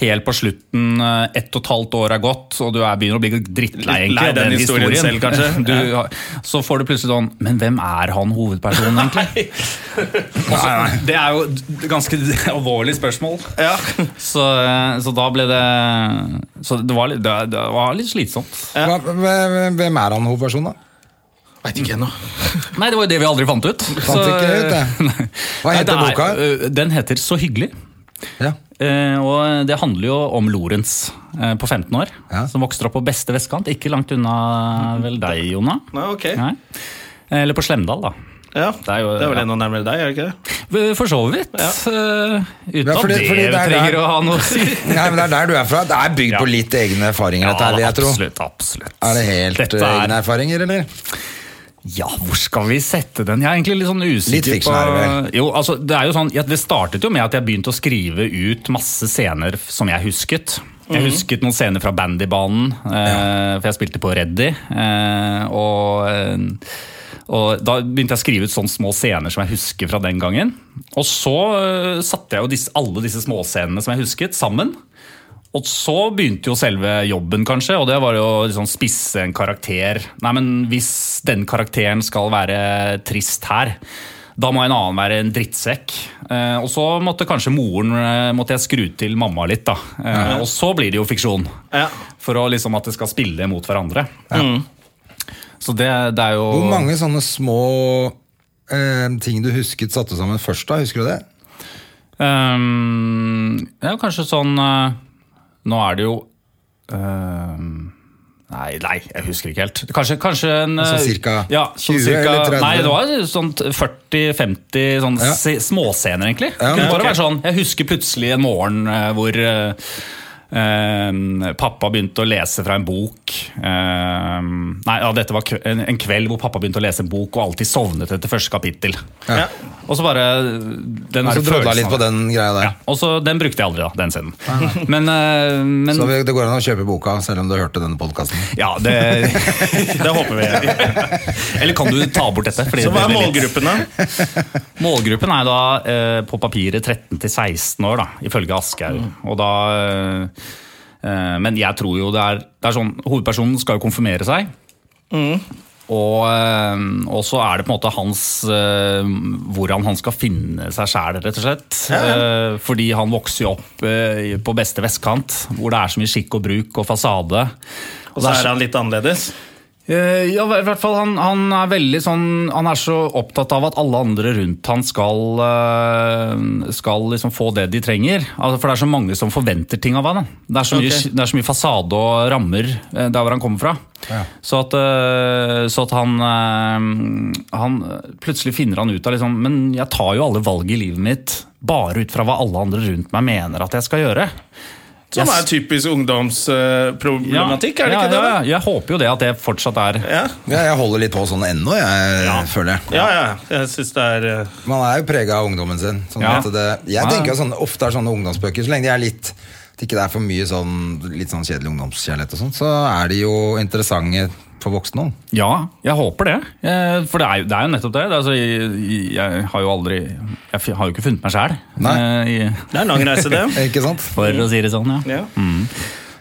Helt på slutten, eh, ett og et halvt år er gått, og du er, begynner å bli drittlei
Litt
egentlig,
lei
av
den
den
historien
historien.
selv, kanskje.
Du, har- så får du plutselig sånn Men hvem er han hovedpersonen, egentlig? Og så- Altså, det er jo et ganske alvorlig spørsmål.
Ja.
Så, eh, så da ble det Så det var, litt- det, det var litt slitsomt.
Hva, hvem- hvem er han hovedpersonen, da?
Veit ikke ennå.
Nei, det var jo det vi aldri fant ut.
Fant ikke ut det.
Nei.
Hva
Nei,
heter
det er-
boka?
ø, Den heter Så hyggelig.
Ja.
Eh, og det handler jo om Lorentz eh, på 15 år,
Ja.
som vokser opp på beste vestkant. Ikke langt unna vel deg, Jonna?
Nei, ok.
Nei. Eller på Slemdal, da.
Ja,
er jo-
Det er vel
ja.
enda nærmere deg, er det ikke det?
For så vidt. eh, uten
Ja, fordi-
at det,
fordi det er
trenger
der-
å ha noe å si.
Nei, men Det er der du er fra. Det er bygd på litt egne erfaringer, dette her, vil jeg tro.
absolutt, absolutt.
Er det helt
Dette
eh,
er-
egne erfaringer, eller?
Ja, hvor skal vi sette den? Jeg er egentlig litt sånn usikker
Litt fiksjon er det
Jo, altså, det, er jo sånn, ja, det startet jo med at jeg begynte å skrive ut masse scener f- som jeg husket. Jeg husket noen scener fra bandybanen, eh, for jeg spilte på Reddy. Eh, og, eh, og da begynte jeg å skrive ut sånne små scener som jeg husker fra den gangen. Og så eh, satte jeg jo disse, alle disse småscenene som jeg husket, sammen. Og så begynte jo selve jobben, kanskje, og det var jo liksom spisse en karakter. Nei, men hvis den karakteren skal være trist her, da må en annen være en drittsekk. Eh, og så måtte kanskje moren eh, måtte jeg skru til mamma litt, da. Eh, og så blir det jo fiksjon.
Ja.
For å liksom at det skal spille mot hverandre. Så det, det er jo
Hvor mange sånne små eh, ting du husket satte sammen først da? Husker du det?
Ehm, det er jo kanskje sånn eh, Nå er det jo ehm, Nei, nei, jeg husker ikke helt. Kanskje, kanskje en eh,
Altså cirka
ja, sånn
20
cirka,
eller 30?
Nei, det var sånn 40-50 sånn
Ja.
se- småscener, egentlig.
Ja,
det kunne
ok.
bare være sånn Jeg husker plutselig en morgen eh, hvor eh, eh, pappa begynte å lese fra en bok eh, Nei, ja, dette var kve- en, en kveld hvor pappa begynte å lese en bok og alltid sovnet etter første kapittel.
Ja.
Og så bare den
Så
her
trodde
følelsen
jeg litt
av
på
det. sånn.
den greia der.
Ja, og så Den brukte jeg aldri, da, den scenen. Men, eh,
Så
men
vi- det går an å kjøpe boka selv om du hørte denne podkasten.
ja, det
Det håper vi.
Eller kan du ta bort dette? fordi
Så hva
det
er
blir litt-
målgruppen, da?
Målgruppen er da eh, på papiret 13 til 16 år, da, ifølge Aschehoug.
Mm.
Og da eh, eh, Men jeg tror jo det er, det er sånn Hovedpersonen skal jo konfirmere seg.
Mm.
Og, eh, og så er det på en måte hans eh, Hvordan han skal finne seg sjæl, rett og slett. Eh, fordi han vokser jo opp eh, på beste vestkant, hvor det er så mye skikk og bruk og fasade.
Og så er han litt annerledes.
Eh, Ja, i hvert fall han, han er veldig sånn Han er så opptatt av at alle andre rundt han skal, eh, skal liksom få det de trenger. Altså, For det er så mange som forventer ting av han. da. Det er så mye,
Ok.
det er så mye fasade og rammer eh, der hvor han kommer fra. Så, at, eh, så at han, eh, han Plutselig finner han ut av liksom Men jeg tar jo alle valg i livet mitt bare ut fra hva alle andre rundt meg mener at jeg skal gjøre.
Som
Yes.
er typisk ungdomsproblematikk, er det
ja,
ikke det?
ja,
da?
ja. Jeg håper jo det at det fortsatt er
Ja,
Ja, jeg holder litt på sånn ennå, jeg føler jeg.
ja. ja. Jeg syns det er eh,
Man er jo prega av ungdommen sin. Sånn
Ja.
at det, jeg
Ja.
tenker jo sånn, ofte er sånne ungdomsbøker Så lenge de er litt at ikke det er for mye sånn, litt sånn kjedelig ungdomskjærlighet, og sånt, så er de jo interessante for voksne òg.
Ja, jeg håper det. Eh, For det er, jo- det er jo nettopp det. Det er Altså, jeg, jeg har jo aldri Jeg fi- har jo ikke funnet meg
Nei.
sjæl,
Det er en lang reise, det.
Ikke sant?
for å si det sånn. ja.
Ja.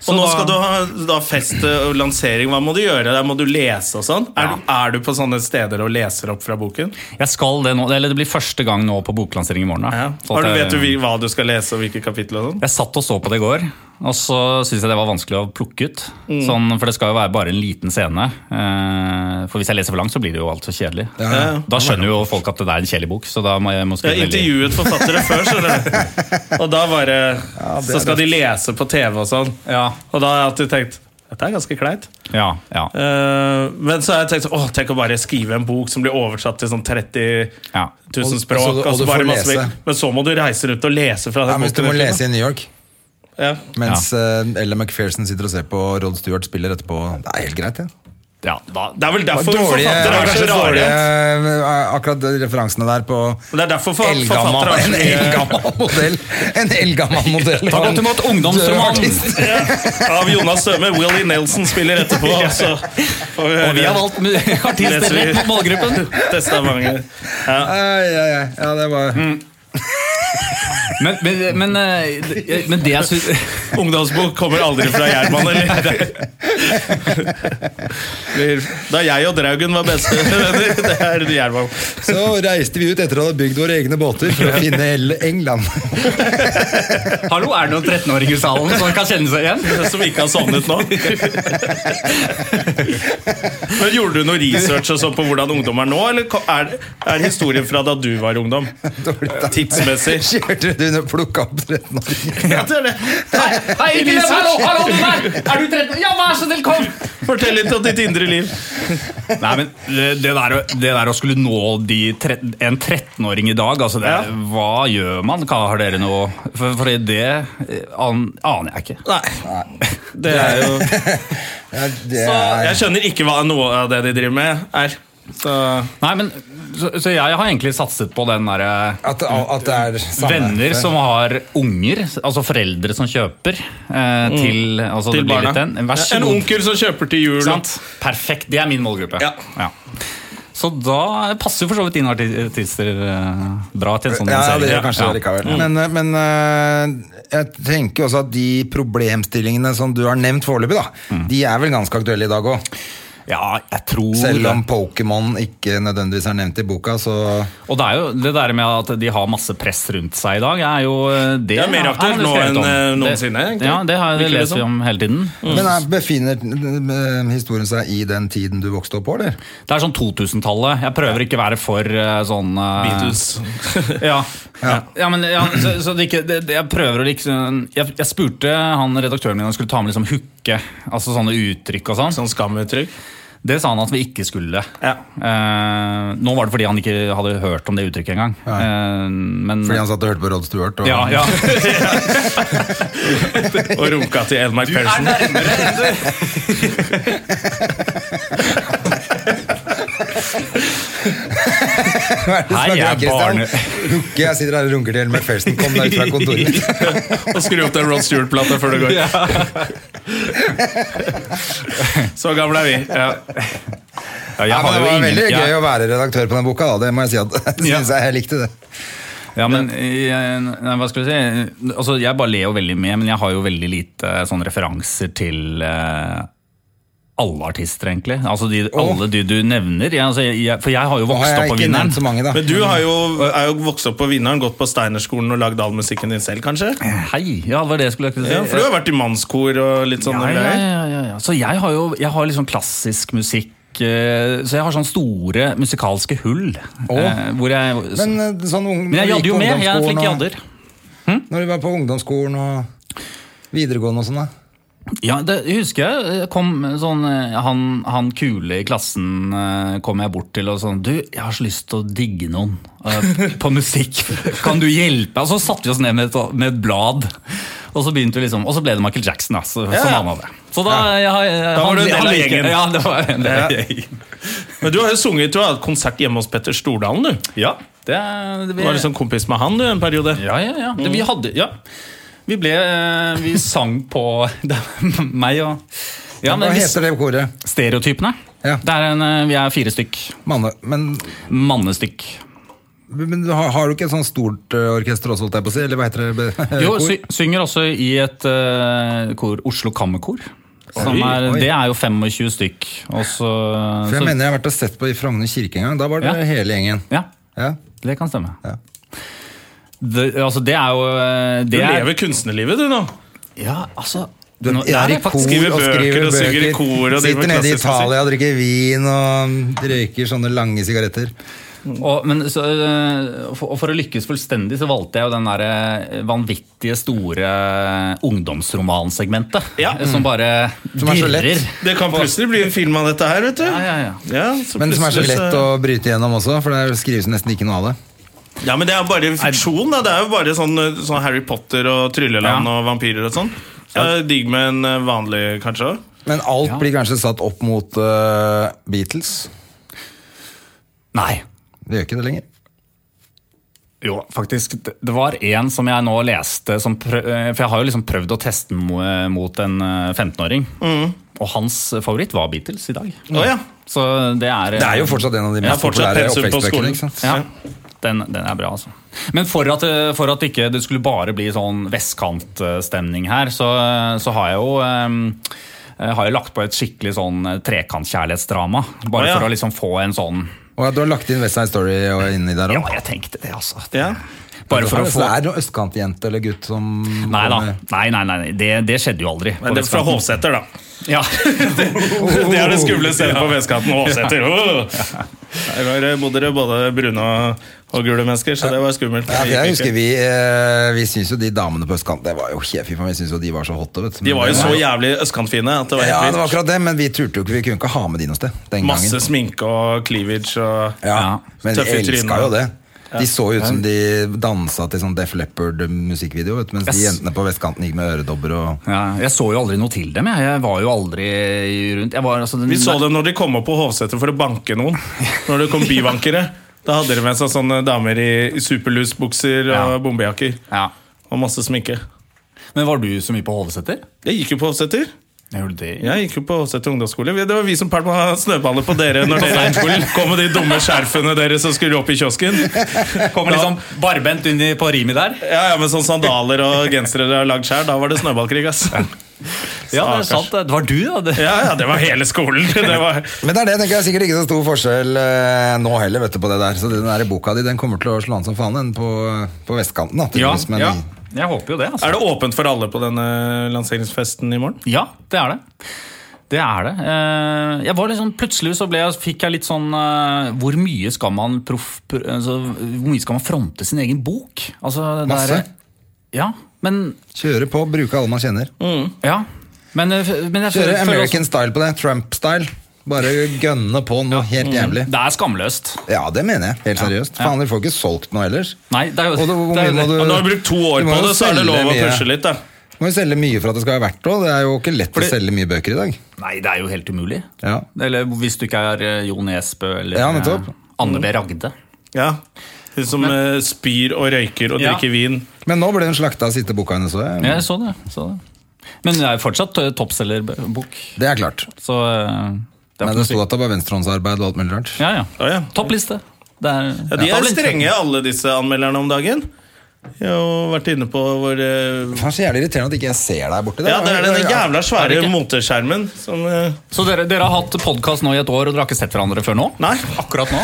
Og nå skal du ha Mm. da fest og lansering. Hva må du gjøre? Der må du lese og sånn. Er, du- er du på sånne steder og leser opp fra boken?
Jeg skal det nå, eller det blir første gang nå på boklansering i morgen. da.
Ja.
Så at
Har du,
jeg-
vet du hvil- hva du skal lese, og hvilke kapittel og sånn?
Jeg satt og så på det i går, og så syntes jeg det var vanskelig å plukke ut.
Mm.
Sånn, for det skal jo være bare en liten scene. Eh, For hvis jeg leser for langt, så blir det jo alt så kjedelig.
ja.
Da skjønner jo folk at det er en kjedelig bok, så da må jeg må
Jeg
skrive veldig-
intervjuet forfattere før, skjønner du. Og da bare Så skal de lese på TV og sånn.
Ja,
Og da har jeg alltid tenkt dette er ganske kleint.
ja, ja.
Eh, men så har jeg tenkt sånn, åh, tenk å bare skrive en bok som blir oversatt til sånn 30
ja.
000
Og-
språk.
og så- og
og så
du
bare
får
masse-
lese.
Men så må du reise rundt og lese fra den
Ja, men hvis du må
boken.
lese i New York,
Ja.
mens eh, Ella McPherson sitter og ser på Rod Stewart spiller etterpå Det er helt greit, det.
ja da,
Det er vel derfor
Dårlige,
forfattere er
kanskje
så
dårlige
rare.
eh, Akkurat de referansene der på
Men Det er derfor for,
eldgammal,
forfattere
en
er så
eldgammal modell. En eldgammal modell.
Ta godt imot ungdomsromanen.
Død artist.
mye Av Jonas Støme, Willy Nelson spiller etterpå. Så får vi høre.
Og vi har valgt mu- artister
Leser vi.
rett på målgruppen.
Testamentet.
Ai, ai, ai. Ja, det var
Men, men, men, eh, det- men det jeg syns
Ungdomsbok kommer aldri fra Gjerman, eller? Det blir- Da jeg og Draugen var beste venner, det er Gjerman.
Så reiste vi ut etter å ha bygd våre egne båter for å finne El- England.
Hallo, er det noen 13-åringer i salen som kan kjenne seg igjen?
Som ikke har sovnet nå. Men Gjorde du noe research og så på hvordan ungdom er nå, eller ko- er, er historien fra da du var ungdom? Tidsmessig.
Kjørte du og plukka opp 13-åringer?
Det er det.
Hei, hei ikke løp! Hallo, hallo, du der! Er du 13? Ja, vær så snill, kom!
Fortell litt om ditt indre liv.
Nei, men eh, det, det, der, å- det der å skulle nå de tre, en 13-åring i dag, altså det,
Ja.
hva gjør man? Hva har dere nå? For, for det eh, an, aner jeg ikke.
Nei. Det er jo
Ja, det
Så jeg
er
skjønner ikke hva noe av det de driver med, er. Så
Nei, men, så, så jeg har egentlig satset på den eh, derre
at, at det er samme.
Venner som har unger, altså foreldre som kjøper eh, til, altså,
Mm. til
det blir
barna.
litt En, en, vær så
en
god.
onkel som kjøper til jul.
Ikke sant? Perfekt. Det er min målgruppe.
Ja.
Så da passer jo for så vidt dine artister eh, bra til en sånn
Ja, det gjør
lansering.
kanskje det likevel. Men, eh, men eh, jeg tenker også at de problemstillingene som du har nevnt foreløpig, da, de er vel ganske aktuelle i dag òg.
Ja. Ja, jeg tror
Selv
det.
om Pokémon ikke nødvendigvis er nevnt i boka, så
Og det er jo det der med at de har masse press rundt seg i dag, er jo eh, Det,
Det er mer
har-
aktuelt
har det
nå
skrevet
enn,
om.
eh,
Det-
noensinne, egentlig.
Ja, det, har, det
Virker det sånn?
leser vi om hele tiden.
Men er, befinner eh, historien seg i den tiden du vokste opp på, eller?
Det er sånn 2000-tallet. Jeg prøver ikke å være for eh, sånn eh,
Beatles.
Ja. Ja. men ja, så, så det ikke, det, det- jeg prøver å liksom jeg, jeg spurte han redaktøren min om han skulle ta med liksom hooke, altså sånne uttrykk og sånn.
Sånn skamuttrykk.
Det sa han at vi ikke skulle.
Ja.
Eh, nå var det fordi han ikke hadde hørt om det uttrykket engang. Eh, men
Fordi han satt og hørte på Rod Stewart? Og,
ja, ja.
Og runka til Elmark Persen.
Hei,
Hei,
jeg
jeg er barn.
Lukke, jeg sitter her og runker til Elmer Felsen. Kom deg ut fra kontoret mitt.
Og skru opp den Rod Stewart-plata før du går. Så gamle er vi. Ja.
Ja, jeg
Ja, men
har
det
jo
var
ingen-
veldig
jeg-
gøy å være redaktør på den boka, da. Det må jeg si at jeg
Ja.
synes jeg, jeg likte det.
Ja, men jeg, nei, hva skal vi si altså, Jeg bare ler jo veldig med, men jeg har jo veldig lite sånn referanser til eh, alle artister, egentlig. Altså de, alle de du nevner. Jeg, altså, jeg, for jeg har jo
Nå har
vokst
jeg
opp på
ikke
vinneren.
nevnt så mange, da.
Men du har jo, er jo vokst opp på Vinneren, gått på Steinerskolen og lagd all musikken din selv, kanskje?
Hei! Ja, det var det jeg skulle si.
Ja, for du har vært i mannskor og litt sånne
ja, ja,
greier.
ja, ja, ja. Så jeg har jo jeg har liksom klassisk musikk. eh, Så jeg har sånne store musikalske hull. eh, hvor jeg,
Men, eh, sånn ung,
men jeg
når du
jadder
gikk
jo
på
med. Jeg er en flink
ungdomsskolen
jadder.
og- Når du var på ungdomsskolen og videregående og sånn, da.
Ja, det husker jeg. Kom sånn, eh, han, han kule i klassen eh, kom jeg bort til og sånn Du, jeg har så lyst til å digge noen eh, på musikk. Kan du hjelpe? Og så satte vi oss ned med et, med et blad. Og så begynte vi liksom, og så ble det Michael Jackson, da, så, som han hadde. Så da, jeg, har- jeg,
Da var du en del av
liker-
gjengen.
Ja, det var en del av
Ja.
gjengen.
Men du har jo sunget, du har hatt konsert hjemme hos Petter Stordalen, du.
Ja, det, det
Du var liksom kompis med han du en periode.
Ja, ja, ja. Det, vi hadde Ja. Vi ble eh, Vi sang på det, var meg og ja,
Hva
men vi-
heter det koret?
Stereotypene.
Ja.
Det er en, eh, vi er fire stykk.
Manne, men,
Mannestykk.
men du har, har du ikke et sånt stort eh, orkester også, holdt jeg på å si? Eller hva heter det? be-
Jo,
Eh, kor?
sy synger også i et eh, kor, Oslo Kammerkor. Som
Oi,
er,
oi.
det er jo 25 stykk. Og så,
For jeg
så
mener jeg har vært og sett på i Frogner kirke en gang. Da var det
Ja.
hele gjengen.
Ja,
Ja.
det kan stemme.
Ja.
Det, altså, det er jo eh,
Du
det er,
lever kunstnerlivet, du nå.
Ja, altså
Du
nå-
er
det det
i kor
faktisk-
skriver
og
bøker
skriver
og synger i
bøker.
kor og driver
Sitter
med
nede i
klassisk
Italia og drikker vin og røyker sånne lange sigaretter.
Og, men, så, øh, for, og for å lykkes fullstendig så valgte jeg jo den der øh, vanvittige store eh, ungdomsromansegmentet.
Ja.
øh, Som bare
Mm. Som er så lett.
dirrer.
Det kan plutselig bli en film av dette her, vet du.
Ja, ja, ja.
Ja, så
Men som er så
plutselig
lett å bryte gjennom også, for der skrives nesten ikke noe av det.
Ja, men det er jo bare fiksjon, da. Det er jo bare sånn, sånn Harry Potter og Trylleland
Ja.
og vampyrer og sånn. Så det er digg med en eh, vanlig, kanskje. også.
Men alt blir kanskje satt opp mot eh, Beatles.
Nei.
Det gjør ikke det lenger.
Jo, faktisk. Det det var en som jeg nå leste som prøv, øh, For jeg har jo liksom prøvd å teste den mo- mot en øh, 15-åring. Og hans favoritt var Beatles i dag.
Å ja.
Så det er eh,
Det er jo fortsatt en av de
Jeg
mest
har fortsatt
populære
pensum på
oppvekstbøkene.
skolen.
ikke sant?
Ja, den, den er bra, altså. Men for at, eh, for at ikke det skulle bare bli sånn vestkantstemning her, så, så har jeg jo em, har jeg lagt på et skikkelig sånn trekantkjærlighetsdrama. Bare
Å, ja.
for å liksom få en sånn
Og at du har lagt inn West Side Story og inni der
Ja,
òg.
jeg tenkte det, altså.
Ja.
Bare for å
Det
få
er noen østkantjente eller gutt som
Nei da. Nei, nei, nei, nei. Det, det skjedde jo aldri. på
Men det er fra
vestkanten.
Hovseter, da.
Ja.
Det er det skumle stedet på vestkanten. Hovseter! Åh! Der var det- bodde det både brune og, og gule mennesker, så det var skummelt.
Ja, for jeg husker
De
Vi, eh, vi syns jo de damene på østkanten Det var jo kjefig for meg, vi syns jo de var så hotte. vet du. Men
var jo
det
så jævlig østkantfine at det var
Ja, det
helt
var
vilt.
akkurat det, men vi turte jo ikke, vi kunne ikke ha med de noe sted den
Masse
gangen.
sminke og cleavage og
Ja,
Ja,
men vi
tøffe i
elska
trynet.
jo det. De så ut som de dansa til sånn Def Leppard-musikkvideo, vet du, mens de
Yes.
jentene på vestkanten gikk med øredobber og
ja. Jeg så jo aldri noe til dem. Jeg, jeg var jo aldri rundt jeg var, altså, den,
Vi så
Mm.
dem når de kom opp på Hovseter for å banke noen. Når det kom bivankere. Da hadde de med seg sånne damer i superlusbukser og
Ja.
bombejakker.
Ja.
Og masse sminke.
Men var du så mye på Hovseter?
Jeg gikk jo på Hovseter.
Gjorde du det?
Jeg gikk jo på Hovseter ungdomsskole. Vi- Det var vi som pælma snøballer på dere når dere kom med de dumme skjerfene dere som skulle opp i kiosken.
Kommer
sånn-
liksom barbent inn i- på rimet der.
Ja, ja, Med sånne sandaler og gensere dere har lagd sjøl. Da var det snøballkrig, ass.
Ja, det er
Stakkars.
sant. Det var du, da. Det.
Ja, ja, det var hele skolen. Det var,
Men det er det, tenker jeg, sikkert ikke så stor forskjell eh, nå heller, vet du, på det der. Så den der boka di, den kommer til å slå an som faen, den på, på vestkanten, da.
Ja,
tydeligvis, men
ja.
i-
Jeg håper jo det. altså.
er det åpent for alle på denne lanseringsfesten i morgen?
Ja, det er det. Det er det. Eh, Jeg var litt sånn, plutselig så ble jeg, fikk jeg litt sånn eh, Hvor mye skal man proff... pr- Altså, hvor mye skal man fronte sin egen bok? Altså, det
Masse.
er- ja, men
Kjøre på, bruke alle man kjenner.
Ja. Men, eh, men jeg føler-
Kjøre
føler også-
American style på det. Trump-style. Bare gønne på noe helt jævlig.
Det er skamløst.
Ja, det mener jeg. Helt seriøst. Faen, dere får ikke solgt noe ellers.
Nei, det er jo
Og det- hvor
det er jo
mye må
det.
Ja, nå har vi brukt to år
Du må
på
jo
det, så er det
selge
lov å
mye.
pushe litt. da
Må jo selge mye for at det skal være verdt det, og det er jo ikke lett
Fordi-
å selge mye bøker i dag.
Nei, det er jo helt umulig.
Ja.
Eller hvis du ikke er eh, Jo Nesbø eller
Ja, nettopp. Mm.
eh, Anne B. Ragde.
Ja, Hun som eh, spyr og røyker og
Ja.
drikker vin.
Men nå ble hun slakta av siste boka hennes òg.
Jeg så det. Så det. Men det er jo fortsatt eh, toppselgerbok,
Det er klart.
så eh, det er
Men
ikke
det
noe
sto
sykt.
at det var venstrehåndsarbeid og alt mulig rart.
Ja, ja.
Å, ja.
Toppliste. Det er,
Ja, de er strenge, alle disse anmelderne om dagen. Jeg har jo vært inne på vår eh,
Faen, så jævlig irriterende at ikke jeg ser deg borti der.
Ja, det er den jævla
Er det
svære
ikke?
moteskjermen som eh,
Så dere, dere har hatt podkast nå i et år, og dere har ikke sett hverandre før nå?
Nei,
Akkurat nå?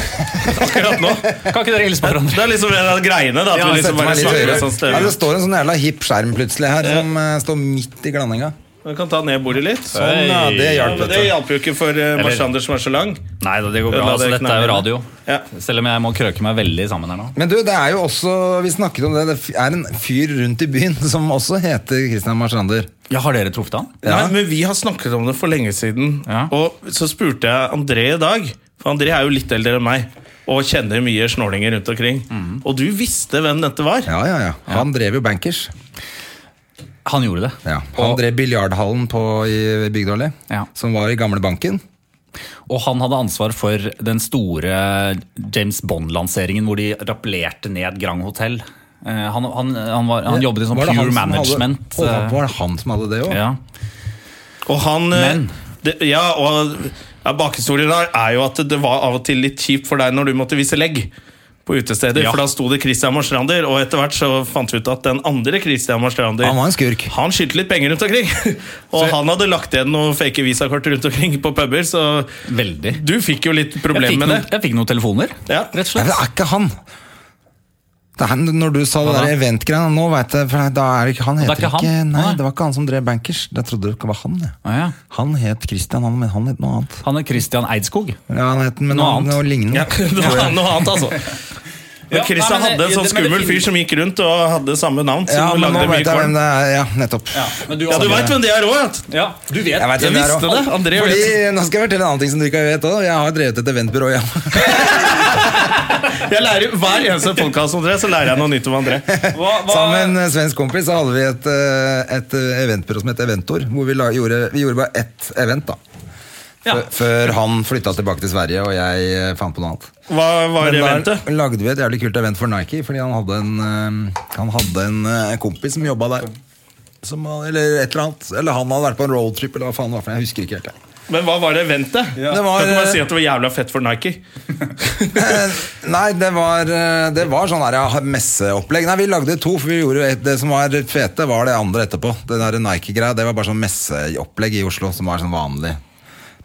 akkurat nå.
Kan ikke dere hilse på hverandre?
Det er liksom en av greiene. da At
Ja,
vi
Sette
liksom
meg
bare
litt
snakker
høyere.
med sånn
ja,
stemme.
det står en sånn jævla hipp skjerm plutselig her som eh, står midt i glanninga.
Du kan ta ned bordet litt. Sånn.
Sånn, ja, det
Ja,
hjalp,
men det
vet du.
hjalp jo ikke for eh, Mars
Eller-
Anders som er så lang.
Nei da, det går bra.
La
Altså,
det
dette er jo radio.
Ja.
Selv om jeg må krøke meg veldig sammen her nå.
Men du, det er jo også Vi snakket om det. Det er en fyr rundt i byen som også heter Christian Marsander.
Ja, Har dere truffet han?
Ja.
Nei, men vi har snakket om det for lenge siden.
Ja.
Og så spurte jeg André i dag, for André er jo litt eldre enn meg. Og kjenner mye snålinger rundt omkring. Og du visste hvem dette var.
Ja, ja, ja. Han drev jo Bankers.
Han gjorde det.
Ja. Han
Og,
drev biljardhallen på, i Bygdøyli,
Ja.
som var i gamle banken.
og han hadde ansvar for den store James Bond-lanseringen hvor de rappellerte ned Grand Hotel. Eh, Han, han, han, var, han jobbet i sånn
Var det
pure
han som
management.
Hadde, Å,
eh,
var det han som hadde det òg?
Ja.
Og han eh,
Men-
det, Ja, og ja, bakhistorien der er jo at det var av og til litt kjipt for deg når du måtte vise legg på utesteder.
Ja.
For da sto det Christian Marstrander, og etter hvert så fant vi ut at den andre Christian Marstrander
Han var en skurk.
Han skyldte litt penger rundt omkring. Og han hadde lagt igjen noen fake visakort rundt omkring på puber, så
Veldig.
du fikk jo litt
Jeg
problemer
fikk,
med
noen,
det.
jeg fikk noen telefoner,
Ja.
rett og
Nei,
slett.
det er ikke han! Det er han, når du sa det
Hva da?
der eventgreiene Nå vet jeg, for da er det ikke Han
er
heter
ikke
ikke,
han?
Nei,
Nei.
det var ikke han som drev Bankers. Jeg trodde det var han. jeg.
Å, ja.
Han het Christian, han, men han het noe annet.
Han er Christian Eidskog.
Ja, han het men
Noe
noe,
annet.
noe lignende.
Ja, det var noe annet, altså.
Ja,
Men
nei,
Christian
men
hadde en
det-
sånn
det- men det
skummel fyr
finnes-
som gikk rundt og hadde samme navn. Som
Ja, men nå
lagde mye
vet jeg hvem
korn.
det er. Ja, nettopp.
Men du,
Ja, du veit hvem det er òg?
Ja, du vet.
Jeg, vet hvem er
visste
også.
det, André
Fordi,
vet.
Nå skal jeg fortelle en annen ting som du ikke vet òg. Jeg har drevet et eventbyrå. Ja.
Jeg lærer jo- Hver eneste podkast om dere, så lærer jeg noe nytt om André.
Sammen med en svensk kompis så hadde vi et, eh, et eh, eventbyrå som het Eventor. Hvor vi, la, gjorde, vi gjorde bare ett event, da.
Ja.
Før- Før han flytta tilbake til Sverige og jeg eh, fant på noe annet.
Hva var
Men
eventet?
da lagde vi et jævlig kult event for Nike, fordi han hadde en, eh, han hadde en eh, kompis som jobba der. Som, han- eller et eller annet. Eller han hadde vært på en roadtrip, eller hva faen det var. for noe, Jeg husker ikke helt. jeg.
Men hva var det eventet?
Det var,
kan ikke bare
eh,
si at det var jævla fett for Nike.
Eh, Nei, det var, eh, det var sånn her, ja, messeopplegg. Nei, vi lagde to, for vi gjorde et, det som var fete, var det andre etterpå. Det der Nike-greia, det var bare sånn messeopplegg i Oslo, som var sånn vanlig.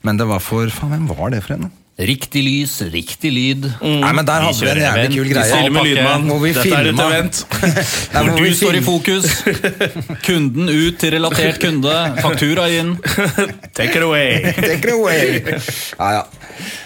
Men det var for Faen, hvem var det for en? da?
Riktig lys, riktig lyd.
Nei, men der hadde vi en
kjører
jævlig
event.
kul
Mm. Vi
greie.
stiller med lydmann.
Hvor vi
Dette er et
filma.
event.
Nei,
Hvor
hvor vi
du står i
film-
fokus, kunden ut til relatert kunde, faktura inn.
Take it away.
Take it away! Ja, ja.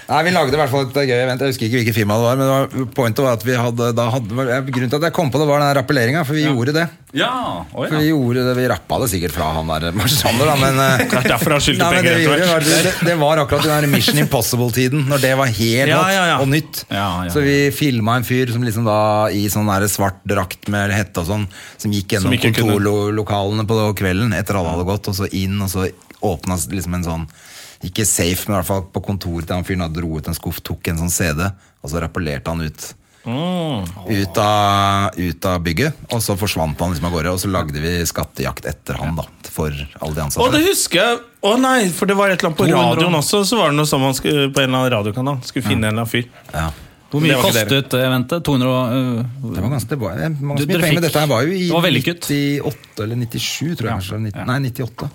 Nei, vi lagde i hvert fall et gøy event. Jeg husker ikke hvilket firma det var, men det var, pointet var at vi hadde, da hadde Grunnen til at jeg kom på det, var den her rappelleringa, for vi gjorde det.
Ja, å
For vi
ja.
gjorde det, vi rappa det sikkert fra han der Marsander, da, men eh,
Det er derfor han skyldte
Nei, men
penger
det, vi
etter
gjorde, var,
hvert.
det, det var akkurat den der Mission Impossible-tiden, når det var helt
Ja,
hot
ja, ja.
og nytt.
Ja, ja.
Så vi filma en fyr som liksom da i sånn der svart drakt med hette og sånn, som gikk
Som
gjennom
ikke kunne-
kontorlokalene på kvelden etter alle hadde gått, og så inn, og så åpna liksom en sånn ikke safe, men i hvert fall på kontoret til han fyren. Da dro ut en skuff, tok en sånn CD, og så rappellerte han ut. Ut, av, ut av bygget, og så forsvant han liksom av gårde. Og så lagde vi skattejakt etter han, da. For alle de
Å,
ansatte.
det husker jeg. Å nei, for det var et eller annet på
200.
radioen også. Så var det noe som man skulle, på en eller annen radiokanal skulle finne en eller annen fyr.
Ja.
Hvor
Det
mye
var ikke
kostet eventet? 200 og, øh,
Det var ganske, det var, det var ganske
Du-
mye
dere
penger, men
fikk-
dette her var jo i
det var vellykket.
98 eller 97, tror jeg. kanskje, eller nitt- Nei, 98.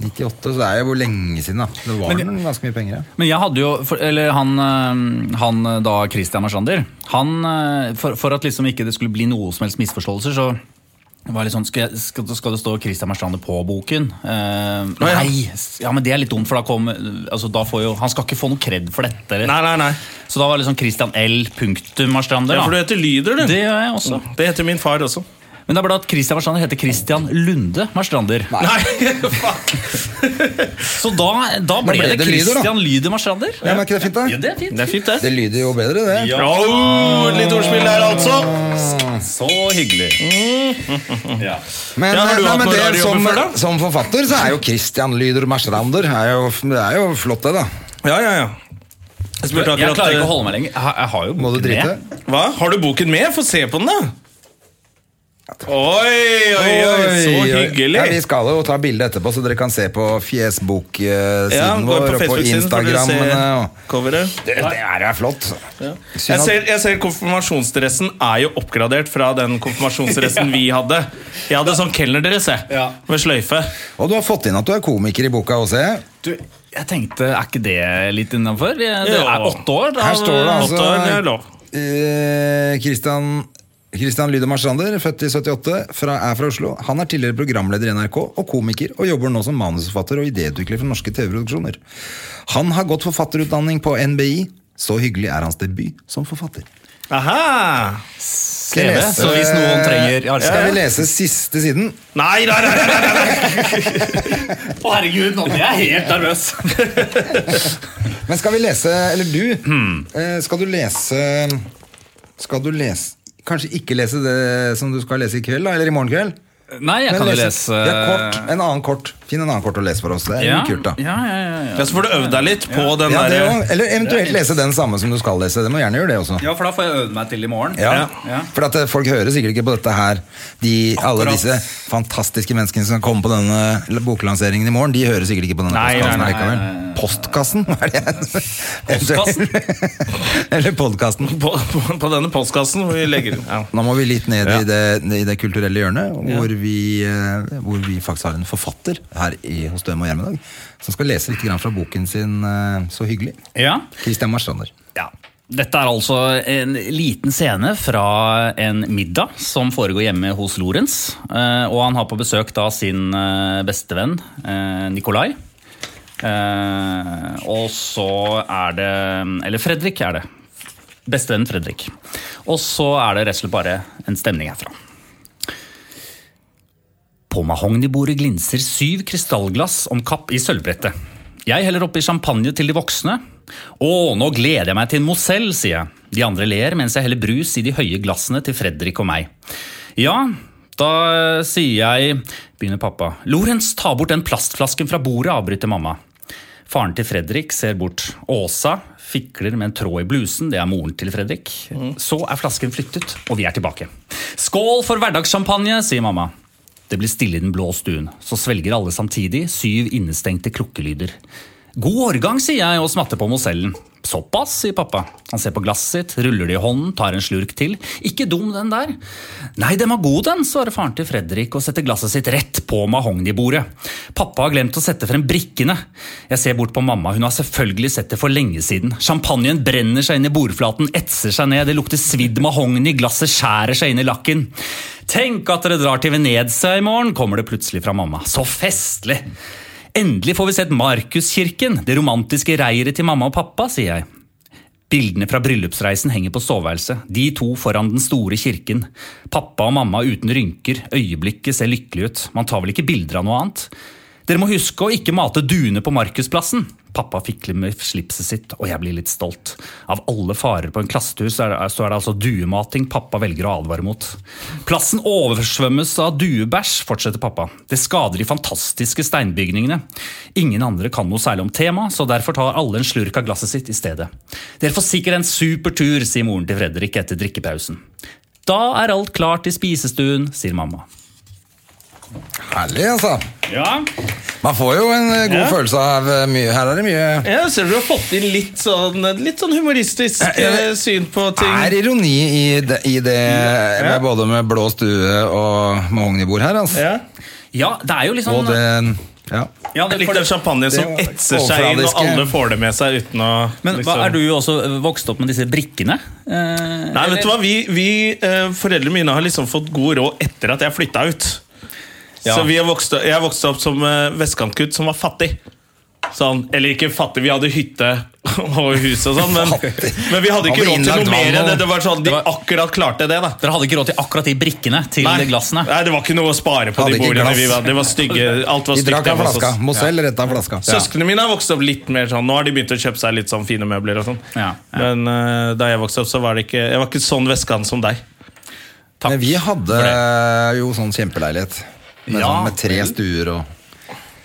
98, så det er jo hvor lenge siden, da. Det var
Men-
noen ganske mye penger. ja.
Men jeg hadde jo, for, eller han, eh, han eh, da, Christian Marsander, han, eh, for, for at liksom ikke det skulle bli noe som helst misforståelser, så var det sånn, skal, jeg- skal, skal det stå Christian Marsander på boken? Eh,
ja.
nei, s- ja, men det er litt dumt, for da, kom, altså, da får jo, han skal ikke få noe kredd for dette. Eller?
Nei, nei, nei.
Så da var det liksom Christian L. punktum Marsander.
Ja, for du
da.
heter Lyder, du.
Det gjør jeg også.
Det heter min far også.
Men det er bare at Christian Marsander heter Christian Lunde Marstrander.
Nei, faen!
Så da, da ble,
ble
det,
det Lyder, da.
Christian Lyder Marstrander.
Ja, men er ikke det fint, da?
Ja, det er fint.
Det er fint, det.
Det lyder jo bedre, det.
Ja.
Au, litt ordspill der, altså.
Så hyggelig. Mm. Ja.
Men,
Ja, har du
nei,
hatt
men
noen
det, som,
radiojobber før, da?
som forfatter så er jo Christian Lyder Marstrander er jo, Det er jo flott, det, da.
Ja, ja, ja. Jeg spurte akkurat eh,
Jeg klarer ikke å holde meg lenger. Jeg, har- jeg har jo
Må du
boken
drite?
med.
Hva? Har du boken med? Få se på den, da. Oi, oi, oi, så
Oi, oi. Ja, vi
hyggelig.
skal jo ta bilde etterpå, så dere kan se på fjesbok-siden
Ja, gå
vår
på
og på
Facebook-siden, får dere
Instagram.
se
men, eh,
coveret.
Det, det er jo flott.
Jeg ser, jeg ser Konfirmasjonsdressen er jo oppgradert fra den konfirmasjonsdressen vi hadde. Jeg hadde sånn kelnerdress jeg,
Ja.
med sløyfe.
Og du har fått inn at du er komiker i boka også. jeg.
Du, jeg tenkte, er ikke det litt innafor? Det er
Jo.
åtte år. da-
Her står det altså
Åtte år, det er lov.
eh, Christian Christian Lyde Marstrander, født i 78, fra, er fra Oslo. Han er tidligere programleder i NRK og komiker, og jobber nå som manusforfatter og idéutvikler for norske TV-produksjoner. Han har gått forfatterutdanning på NBI. Så hyggelig er hans debut som forfatter.
Aha!
Skal jeg
TV,
lese-
så hvis noen trenger ja,
Skal
skal
vi
jeg-
lese siste siden?
Nei, nei, nei! nei, nei.
Å, herregud, nå blir jeg helt nervøs.
Men skal vi lese Eller du,
Hmm.
eh, skal du lese Skal du lese Kanskje ikke lese det som du skal lese i kveld, da? Eller i morgen kveld?
Nei, jeg
Men
kan jo lese
Ja, kort. En annen kort. Finn en annen kort å lese for oss. Det er jo
Ja,
kult, da.
Ja, ja, ja, ja.
Ja, så får du øvd deg litt på den
Ja, det
derre
også. eller eventuelt lese den samme som du skal lese. Det må gjerne gjøre det også.
ja, for da får jeg øve meg til i morgen.
Ja.
Ja.
For at eh, folk hører sikkert ikke på dette her. De, alle
Akkurat.
disse fantastiske menneskene som kommer på denne boklanseringen i morgen, de hører sikkert ikke på denne
Nei,
postkassen
nei, nei,
likevel.
nei, nei, nei.
Postkassen, hva er det? Postkassen? eller podkasten.
på, på, på denne postkassen hvor vi legger ja.
Nå må vi litt ned
Ja.
i, det, i det kulturelle hjørnet, hvor, vi, eh, hvor vi faktisk har en forfatter her i, hos Døm og Gjerm i dag, som skal lese litt grann fra boken sin eh, Så hyggelig.
Ja.
Christian Marstrander.
Ja. Dette er altså en liten scene fra en middag som foregår hjemme hos Lorentz. Eh, Og han har på besøk da sin eh, bestevenn eh, Nikolai. Eh, Og så er det Eller Fredrik er det. Bestevennen Fredrik. Og så er det rett og slett bare en stemning herfra. På mahognibordet glinser syv krystallglass om kapp i sølvbrettet. Jeg heller oppi champagne til de voksne. Å, nå gleder jeg meg til en Moselle, sier jeg. De andre ler mens jeg heller brus i de høye glassene til Fredrik og meg. Ja, da eh, sier jeg, begynner pappa. Lorentz, ta bort den plastflasken fra bordet, avbryter mamma. Faren til Fredrik ser bort. Åsa fikler med en tråd i blusen. Det er moren til Fredrik. Så er flasken flyttet, og vi er tilbake. Skål for hverdagssjampanje, sier mamma. Det blir stille i den blå stuen. Så svelger alle samtidig syv innestengte klukkelyder. God årgang, sier jeg og smatter på Mosellen. Såpass, sier pappa. Han ser på glasset sitt, ruller det i hånden, tar en slurk til. Ikke dum, den der. Nei, den var god, den, svarer faren til Fredrik og setter glasset sitt rett på mahognibordet. Pappa har glemt å sette frem brikkene. Jeg ser bort på mamma, hun har selvfølgelig sett det for lenge siden. Champagnen brenner seg inn i bordflaten, etser seg ned, det lukter svidd mahogni, glasset skjærer seg inn i lakken. Tenk at dere drar til Venezia i morgen, kommer det plutselig fra mamma. Så festlig! Endelig får vi sett Markuskirken, det romantiske reiret til mamma og pappa, sier jeg. Bildene fra bryllupsreisen henger på soveværelset, de to foran den store kirken. Pappa og mamma uten rynker, øyeblikket ser lykkelig ut, man tar vel ikke bilder av noe annet? Dere må huske å ikke mate duene på Markusplassen. Pappa fikler med slipset sitt, og jeg blir litt stolt. Av alle farer på en klassetur så er det, så er det altså duemating pappa velger å advare mot. Plassen oversvømmes av duebæsj, fortsetter pappa. Det skader de fantastiske steinbygningene. Ingen andre kan noe særlig om temaet, så derfor tar alle en slurk av glasset sitt i stedet. Dere får sikkert en super tur, sier moren til Fredrik etter drikkepausen. Da er alt klart i spisestuen, sier mamma.
Herlig, altså.
Ja,
Man får jo en eh, god følelse av eh, mye. Her er det mye
Ja, jeg ser du har fått inn litt sånn, litt sånn humoristisk eh, syn på ting.
er ironi i det, i det med både med blå stue og mahognibord her, altså.
Ja.
ja det er jo litt
Og
sånn
den Ja.
Ja, det er litt sånn- den champagne som
Det var
etser seg inn, og
overfladiske.
alle får det med seg uten å
Men hva,
liksom-
er du også vokst opp med disse brikkene? Eh,
Nei, vet du hva? Vi, vi eh, foreldrene mine har liksom fått god råd etter at jeg flytta ut.
Ja.
Så vi er vokst, jeg vokste opp som eh, vestkantgutt som var fattig. Sånn, eller ikke fattig, vi hadde hytte og hus og sånn, men,
Fattig.
men vi hadde ikke
Han var
råd til
innlagt
noe mer
vann
enn det.
og-
Det var sånn, De
var-
akkurat klarte det, da.
Dere hadde ikke råd til akkurat de brikkene til
Nei,
glassene?
nei, det var ikke noe å spare på
Hadde
de
ikke
bordene
glass.
vi var. Det var stygge, alt var
De
stygt
drakk av
hjemme hos
flaska.
oss.
Mosell retta av flaska. Ja.
Søsknene mine har vokst opp litt mer sånn Nå har de begynt å kjøpe seg litt sånn fine møbler og sånn.
Ja, ja.
Men eh, da jeg vokste opp, så var det ikke Jeg var ikke sånn vestkant som deg.
Men vi hadde jo sånn kjempeleilighet. Med,
Ja,
sånn, med tre stuer og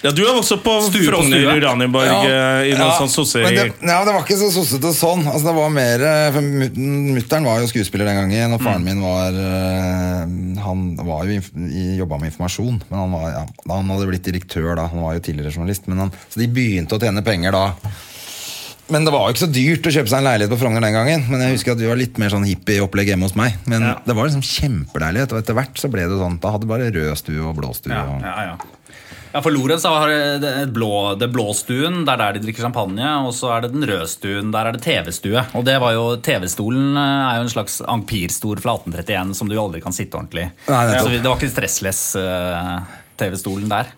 Ja, du har vokst opp på
Stue på
Frogner
stue.
Uranienborg eh, i noen sånn sosse...
Men det, ja, det var ikke så sossete sånn. Altså, det var mer eh, for mut- Mutter'n var jo skuespiller den gangen, og faren min var eh, Han var jo inf- i- jobba med informasjon, men han, var, ja, han hadde blitt direktør da. Han var jo tidligere journalist, men han, så de begynte å tjene penger da. Men det var jo ikke så dyrt å kjøpe seg en leilighet på Frogner den gangen. Men jeg husker at vi var litt mer sånn hippie-opplegg hjemme hos meg. Men
Ja.
det var liksom kjempeleilighet, og etter hvert så ble det sånn. Da hadde du bare rød stue og blå stue.
Ja,
og...
ja, ja. ja, for Lorentz har det et blå, det blå stuen, det er der de drikker champagne. Og så er det den røde stuen, der er det TV-stue. Og det var jo, TV-stolen eh, er jo en slags ampirstol fra 1831 som du aldri kan sitte ordentlig i.
Nei, nettopp.
Så vi- det var ikke stressless eh, TV-stolen der.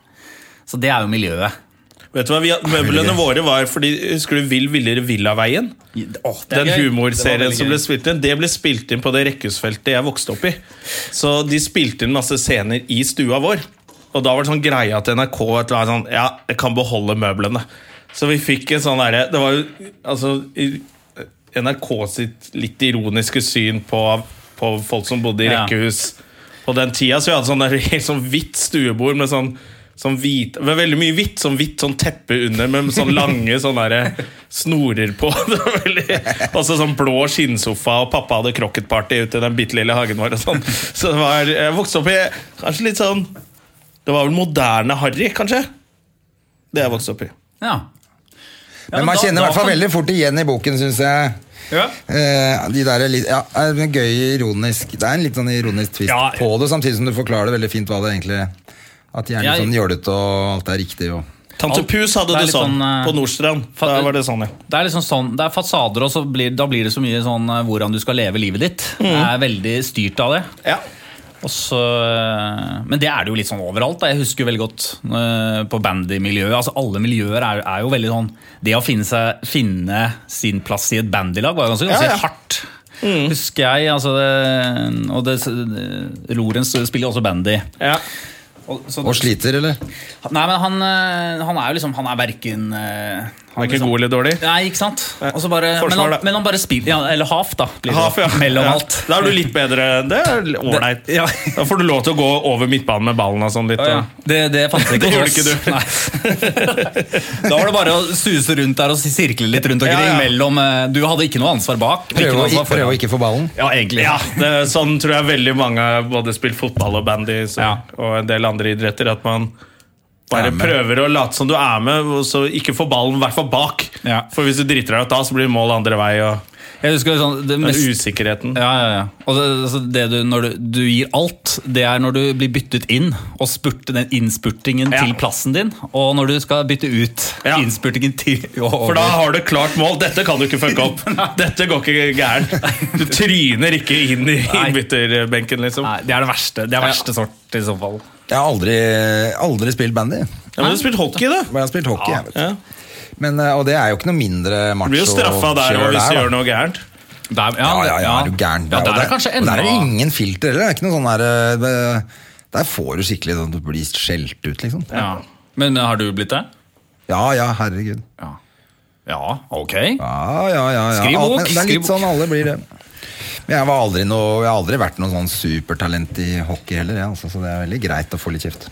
Så det er jo miljøet.
Vet du hva, vi, Møblene våre var fordi Husker du Vill Villere Villaveien?
I- åh, det er gøy.
Den
Det var
humorserien
veldig
som ble
gøy.
spilt inn, det ble spilt inn på det rekkehusfeltet jeg vokste opp i. Så de spilte inn masse scener i stua vår. Og da var det sånn greie at NRK et eller annet sånn, ja, jeg kan beholde møblene. Så vi fikk en sånn derre Det var jo altså i- NRK sitt litt ironiske syn på, på folk som bodde i
Ja.
rekkehus på den tida. Så vi hadde sånn der, helt sånn hvitt stuebord med sånn Sånn hvit, det var veldig mye hvitt, sånn hvitt sånn teppe under med sånn lange sånn derre snorer på. Det var veldig, også sånn blå skinnsofa, og pappa hadde crocketparty ute i den bitte lille hagen vår. Og sånn. Så det var, jeg vokste opp i kanskje litt sånn Det var vel moderne harry, kanskje? Det jeg vokste opp i.
Ja. Ja,
men man
da-
kjenner i
da
hvert fall
kan-
veldig fort igjen i boken, syns jeg.
Ja.
Eh, de der er litt, ja, er en gøy, ironisk Det er en litt sånn ironisk twist
Ja.
på det, samtidig som du forklarer det veldig fint hva det egentlig At de er litt
Jeg-
sånn jålete, og alt er riktig. Og.
Tante
Alt-
Pus hadde
det er
det,
litt
sånn,
sånn, eh,
på Nordstrand.
fa-
Da var det sånn, ja.
Det er liksom sånn, det er fasader, og så blir, da blir det så mye sånn eh, hvordan du skal leve livet ditt. Det er veldig styrt av det.
ja.
Og så, eh, men det er det jo litt sånn overalt. Da. Jeg husker jo veldig godt eh, på bandymiljøet. Altså, alle miljøer er, er jo veldig sånn Det å finne, seg, finne sin plass i et bandylag var jo ganske, ganske
Ja, Mm. ja.
hardt. Husker jeg. Altså, det, og det, Lorentz spiller jo også bandy.
Ja.
Og, så,
og sliter, eller?
Nei, men han, eh, han er jo liksom Han er verken eh,
Han
han
er ikke
liksom-
god eller dårlig.
Nei, ikke sant? Og så bare,
Forsvar,
men, han,
da.
men han bare spiller ja, Eller half, da. blir det.
Haf, ja.
Mellom
Ja.
alt.
Da er du litt bedre. Det er ålreit.
Det- ja.
Da får du lov til å gå over midtbanen med ballen og sånn litt.
Ja, ja. Det, det fantes ikke
Det
hos
gjorde ikke
oss.
du.
Nei. Da var det bare å suse rundt der og sirkle litt rundt omkring.
Ja, ja.
Mellom, eh, du hadde ikke noe ansvar bak. og ikke
Prøve
noe
å,
ansvar foran.
prøve å ikke få ballen.
Ja, egentlig.
Ja, det er sånn tror jeg veldig mange har både spilt fotball og bandy så,
Ja.
og en del andre idretter. At man
Er
bare
med.
prøver å late som du er med, og så ikke få ballen, i hvert fall bak.
Ja.
For hvis du driter deg ut da, så blir det mål andre vei, og
Jeg husker sånn, det
den
mest
usikkerheten.
ja, ja, ja. Og det, altså, det du, når du, du gir alt, det er når du blir byttet inn, og spurte den innspurtingen
Ja.
til plassen din, og når du skal bytte ut
Ja.
innspurtingen til
For da har du klart mål. Dette kan du ikke fucke opp. Dette går ikke gærent. Du tryner ikke inn i
Nei.
innbytterbenken, liksom.
Nei, det er det verste. Det er verste sort i så fall.
Jeg har aldri, aldri spilt bandy.
Ja, men du har spilt hockey, da.
Men jeg har spilt hockey. jeg vet.
Ja.
Men, eh, og det er jo ikke noe mindre
Du
macho.
blir jo straffa der
kjør
og hvis du
da.
gjør noe gærent.
Det er-
Ja, ja, ja, er du gæren.
Ja, der
og
er det kanskje
og
enda
Der er det ingen filter heller. Det er ikke noe sånn der, eh, det, der får du skikkelig sånn Du blir skjelt ut, liksom.
ja. Men har du blitt det?
Ja ja, herregud.
Ja. Ja, ok.
Ja, ja, ja, ja.
Skriv bok,
Alt- men Det er
skriv
litt
bok.
sånn alle blir det. Men jeg, var aldri noe, jeg har aldri vært noe sånn supertalent i hockey heller, jeg, altså, så det er veldig greit å få litt kjeft.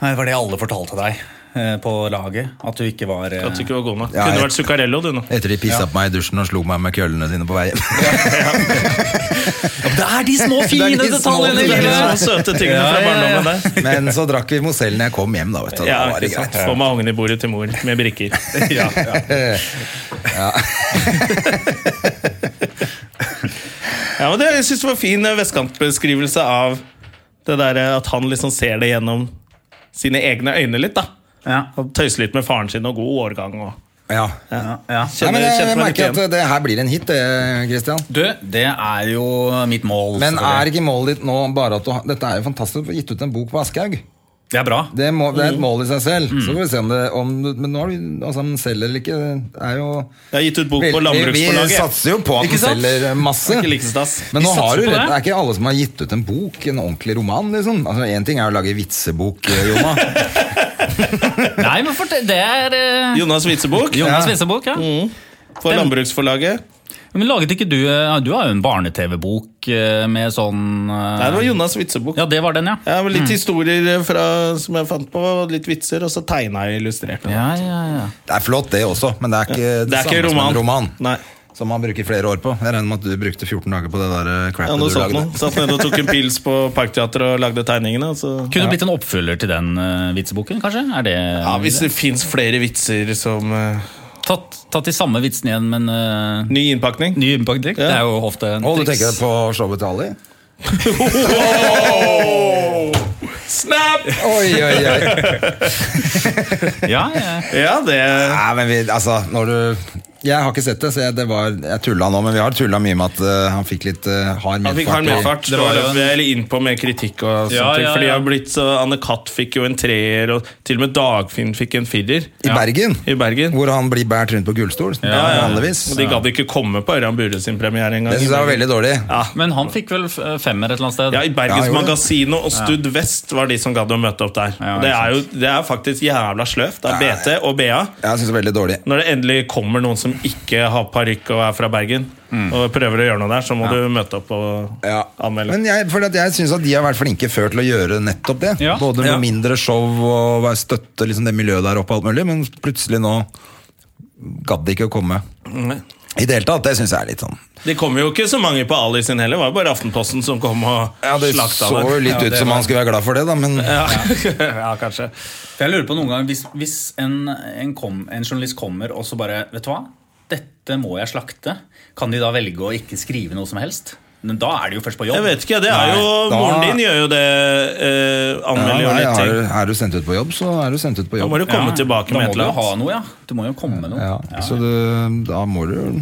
Nei, Det var det alle fortalte deg eh, på laget. At du ikke var eh,
At du ikke var god nok.
Ja,
Kunne
jeg-
vært Zuccarello, du nå.
Etter de pissa på meg i dusjen og slo meg med køllene sine på vei hjem.
Det er de små
Det er de små
i
Det er
tingene.
livet!
de søte tingene
Ja,
fra
ja, ja.
barndommen der.
Men så drakk vi Mosell når jeg kom hjem, da. Vet du.
Ja,
da var det
ikke sant.
greit.
Få meg ungen i bordet til mor med brikker.
Ja, ja.
Ja, men det, jeg synes det var fin eh, vestkantbeskrivelse av det der eh, at han liksom ser det gjennom sine egne øyne litt, da.
Ja.
Han tøyser litt med faren sin og god årgang og
Ja.
Ja, ja.
Nei,
Kjenner,
men
kjenner
jeg, jeg
meg litt
merker at
igjen.
eh, det her blir en hit, det, Christian.
Du, det er jo mitt mål.
Men
selvfølgelig.
er ikke målet ditt nå bare at du har Dette er jo fantastisk, du har gitt ut en bok på Aschehoug.
Det er bra.
Det, må, det er
Mm.
et mål i seg selv. Så får vi se om det om, du- Men nå har du altså, om den selger eller ikke, det er jo
Jeg har gitt ut bok
Vi-
på
Vi, vi
Landbruksforlaget.
satser jo på at
Ikke
den
sant?
selger eh, masse.
Det er ikke likestas.
Men
Vi
nå
satser
har du
på
rett,
det.
det er ikke alle som har gitt ut en bok, en ordentlig roman, liksom. Altså, Én ting er å lage vitsebok, eh, Jonna.
Nei, men fortell, det er eh,
Jonas Witzebukk
Jonas Winsebok, ja.
på Landbruksforlaget.
Men laget ikke du eh, Du har jo en barne-TV-bok eh, med sånn eh,
Nei, det var Jonas Witzebukk.
Ja, det var den, ja.
Ja, men litt historier fra, som jeg fant på, og litt vitser, og så tegna jeg illustrert.
Ja, ja, ja.
Det er flott, det også, men det er ikke det,
Det er
samme
ikke
som en
roman.
roman.
Nei.
Som man bruker flere år på. Jeg regner med at du brukte 14 dager på det der eh,
Ja,
crapet
nå
du
satt
lagde.
man. Satt nede og tok en pils på Parkteatret og lagde tegningene. og Så.
Kunne blitt en oppfølger til den eh, vitseboken, kanskje? Er det
Ja, Hvis det fins flere vitser som eh,
tatt, tatt de samme vitsene igjen, men eh,
ny innpakning
ny innpakning? Det er jo ofte en
Og du
triks.
tenker på showet til Ali?
Snap!
Oi, oi, oi.
Ja, ja.
Ja, det
Nei, men vi, altså, når du... Jeg har ikke sett det, så jeg, det var, jeg tullet nå, men vi har tullet mye med at eh, han fikk litt eh, hard
Han fikk hard medfart.
Det
Det
var
var
jo en-
løp jeg innpå med kritikk. og sånt,
Ja, ja,
For de
ja.
har blitt så Anne Katt fikk jo en treer, og til og med Dagfinn fikk en firer.
I Bergen,
I Bergen.
hvor han blir bært rundt på gullstol,
Ja, ja.
vanligvis.
Og de gadd ikke komme på Ørjan Bure sin premiere engang.
Det synes jeg var veldig dårlig.
Men han fikk vel f- femmer et eller annet sted?
Ja, i
Ja,
Bergens
jeg gjorde det.
Magazine og Stud Vest var de som gadd å møte opp der.
Ja,
Og det er jo det er faktisk jævla sløvt. Det er BT og BA.
Jeg synes det var veldig dårlig.
Når det endelig kommer noen som ikke har parykk og er fra Bergen, og prøver å gjøre noe der, så må du møte opp og
Mm. Ja.
anmelde.
Men jeg, føler at jeg synes at de har vært flinke før til å gjøre nettopp det.
Ja.
Både med
Ja.
mindre show og være- støtte liksom det miljøet der oppe, og alt mulig, men plutselig nå gadd de ikke å komme.
Mm.
I det hele tatt, det synes jeg er litt sånn.
Det kom jo ikke så mange på Ali sin heller, det var jo bare Aftenposten som kom og
Ja, det
slakta
så jo litt ut som han skulle være glad for det, da, men...
Ja. ja, kanskje.
For jeg lurer på noen ganger Hvis, hvis en, en, kom, en journalist kommer og så bare Vet du hva? Dette må jeg slakte. Kan de da velge å ikke skrive noe som helst? Men da er de jo først på jobb.
Jeg vet ikke, det er
Nei,
jo
da-
Moren din gjør jo det. Eh,
Ja,
anmelder jo
nei,
litt
er,
ting.
du- er du sendt ut på jobb, så er du sendt ut
Da
på jobb.
må du komme tilbake med
da må
et
du jo
eller
ha
annet.
noe, ja. Du må jo komme med noe.
Ja, Så du, da må du jo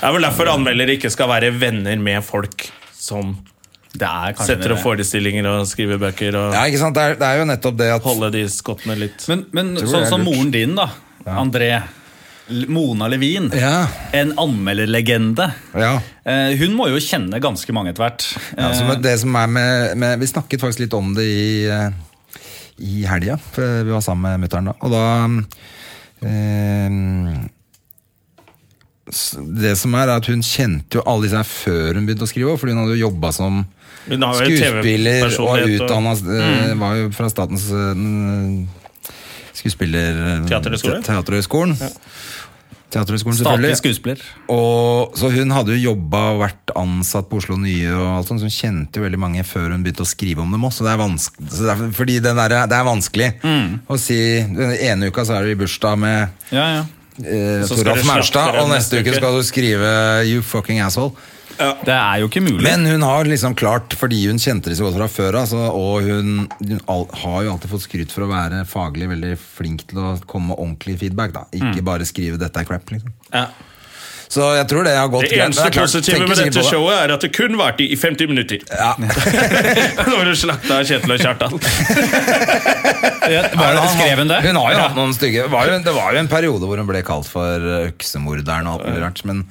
Det er vel derfor anmeldere ikke skal være venner med folk som
Det er kanskje
setter
det.
opp forestillinger og skriver bøker og
Ja, ikke sant? Det er, det er jo nettopp det at
holder de skottene litt.
Men, men
Tror
sånn
jeg er
som
lurt.
moren din, da. André. L- Mona Levin.
Ja.
En anmelderlegende.
ja.
Eh, hun må jo kjenne ganske mange etter hvert.
ja som
Eh,
er det som er med, med Vi snakket faktisk litt om det i, eh, i helga, for vi var sammen med mutter'n da. Og da eh, s- Det som er, er at hun kjente jo alle disse her før hun begynte å skrive, fordi hun hadde jo jobba som
Hun har jo
skuespiller og er
TV-personlighet og- Mm.
utdanna Var jo fra statens eh, skuespiller... eh,
Teaterhøgskole?
te- Teaterhøgskolen. Teaterhøgskolen,
Statlig
selvfølgelig.
skuespiller.
Og, så hun hadde jo jobba og vært ansatt på Oslo Nye, og alt sånt, så hun kjente jo veldig mange før hun begynte å skrive om dem også. Så det er, vanske, så det er, fordi den der, det er vanskelig
Mm.
å si Den ene uka så er du i bursdag med
Ja, ja.
eh,
skal du
Toralf
slakte
Maurstad,
den
og neste
neste
uke
uke.
skal du skrive 'You fucking asshole'.
Det er jo ikke
Mm.
mulig.
Men hun har liksom klart, fordi hun kjente det så godt fra før altså, og hun, hun al har jo alltid fått skryt for å være faglig veldig flink til å komme med ordentlig feedback. Da.
Mm.
Ikke bare skrive 'dette er crap'. Liksom.
Ja.
Så jeg tror det har gått
Det
greit. men
eneste
er klart,
positive
tenker
med
sikkert
dette
på det.
showet er at det kun varte i 50 minutter.
Ja.
Når du slakta Kjetil og Kjartan.
Var det, skrev hun det?
Hun har jo hatt noen stygge det var jo, Det var jo en periode hvor hun ble kalt for eh, øksemorderen og alt mulig rart, men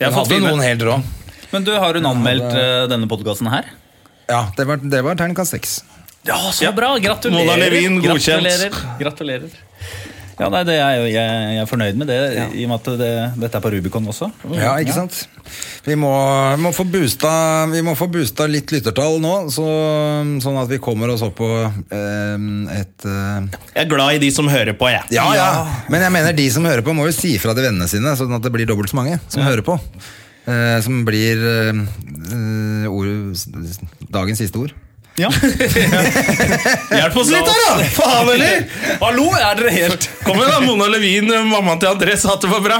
Jeg
hun
har fått
hadde jo
fine.
noen helt rå.
Men du, har hun anmeldt eh, denne podkasten her?
Ja, det var, det var terningkast seks.
Ja, så bra! Gratulerer!
Mona Levin, godkjent.
Gratulerer. Gratulerer. Ja, nei, det er jo, jeg, jeg er fornøyd med det, i og med at det, dette er på Rubicon også.
Ja, ikke sant? Vi må, må få boosta, vi må få boosta litt lyttertall nå, så, sånn at vi kommer oss opp på eh, et eh,
Jeg er glad i de som hører på, jeg.
ja, ja! Men jeg mener de som hører på, må jo si fra til vennene sine, sånn at det blir dobbelt så mange som hører på. Eh, som blir eh, eh, ord, dagens siste ord.
Ja.
Hjelp oss litt her, da! Faen, eller?
Hallo, er dere helt
Kom igjen, da. Mona Levin, mammaen til André, sa at det var bra.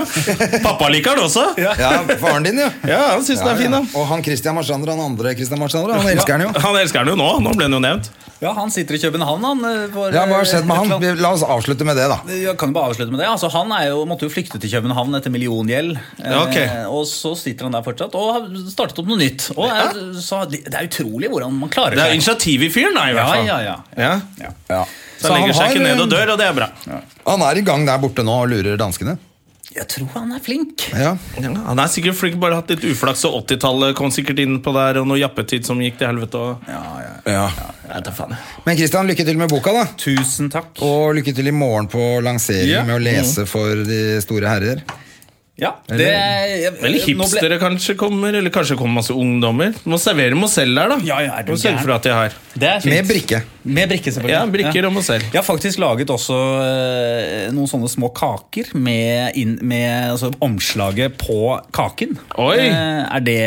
Pappa liker den også. Ja,
Ja, faren din, jo!
han syns den er fin,
Ja,
da.
ja. Og han Christian Marsander, han andre Christian Marsander, han elsker han jo.
Han elsker den jo nå. Nå ble den jo nevnt.
Ja, han sitter i København, han. eh, for,
Ja, Hva
eh,
har skjedd med
et eller
han?
annet.
Vi- La oss avslutte med det, da.
Jeg kan jo bare avslutte med det. Altså, han er jo, måtte jo flykte til København etter milliongjeld.
Ja, ok.
Eh, og så sitter han der fortsatt og har startet opp noe nytt. Og er, så, det er utrolig hvordan man klarer
Det er
seg.
initiativ i fyren, da, i hvert
Ja,
fall.
ja, ja.
Ja. Så, han legger seg ikke ned og dør, og det er bra.
Han er i gang der borte nå og lurer danskene.
Jeg tror han er flink.
Ja.
Han er sikkert flink, bare hatt litt uflaks, og 80-tallet kom sikkert inn på der, og noe jappetid som gikk til helvete. Og... Jeg vet da faen. jeg.
Men Christian, lykke til med boka, da.
Tusen takk.
Og lykke til i morgen på lansering
Ja. Mm.
med å lese for de store herrer.
ja, det, jeg,
Eller
nå ble-
hipstere kanskje kommer, eller kanskje kommer masse ungdommer. Du må servere Mozell der, da.
Ja, ja, er du
Og sørge
gæren?
for at de har.
Det er fint.
Med brikke.
Med brikke, selvfølgelig.
Ja, brikker og Mozell.
Jeg har faktisk laget også eh, noen sånne små kaker med, inn, med altså, omslaget på kaken.
Oi.
Eh, er det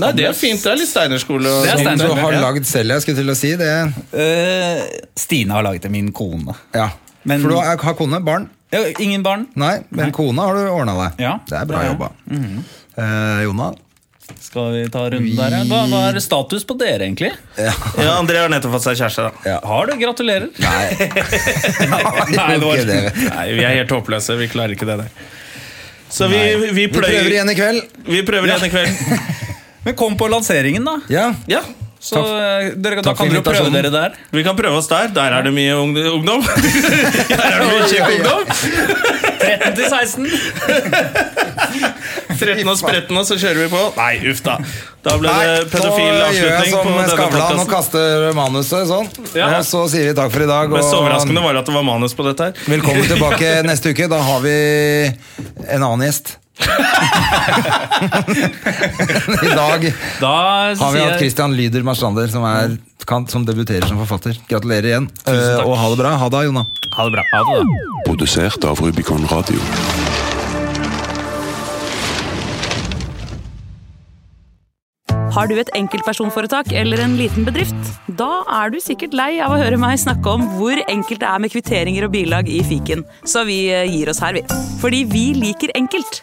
Nei, det er fint. Det er litt Steinerskole. og-
Det er
Som du
Steinerskole,
har
Ja.
lagd selv, jeg skulle til å si det.
Eh, Stine har laget det. Min kone.
Ja.
Men-
For du har har kone, barn?
Ja, ingen barn?
Nei, men kona har du ordna deg.
Ja.
Det er bra
Ja, ja.
jobba.
Mm.
eh, Jona?
Skal vi ta runden der? ja? Hva, hva er status på dere, egentlig?
Ja, André har nettopp fått seg kjæreste, da.
Har du? Gratulerer.
Nei.
Nei, det var-
Ok, dere.
Nei, vi er helt håpløse. Vi klarer ikke det der. Så vi, vi,
Vi prøver igjen i kveld.
Vi prøver igjen i kveld.
Men kom på lanseringen, da.
Ja.
Ja,
Så eh, dere, Da
takk for
kan dere jo prøve dere
invitasjonen.
der.
Vi kan prøve oss der. Der er det mye ung- ungdom. Der er det mye kjekk ungdom.
13 til 16.
13 og spretten, og så kjører vi på. Nei, uff da. Da ble
Nei,
det
nå
pedofil
gjør jeg
avslutning på
som
denne
Skavlan og
podkasten.
kaster manuset sånn.
Ja.
Og så sier vi takk for i dag.
Mest overraskende
Og
var det at det var manus på dette her.
velkommen tilbake neste uke. Da har vi en annen gjest. I dag
Da
har
sier
vi hatt
jeg-
Christian Lyder Marstrander, som, er, kan, som debuterer som forfatter. Gratulerer igjen.
takk.
Eh, Og ha det bra. Ha det, Jonna.
Ha det bra. Ha det, da.
Produsert av Rubicon Radio.
Har du et enkeltpersonforetak eller en liten bedrift? Da er du sikkert lei av å høre meg snakke om hvor enkelt det er med kvitteringer og bilag i fiken, så vi eh, gir oss her, vi. Fordi vi liker enkelt.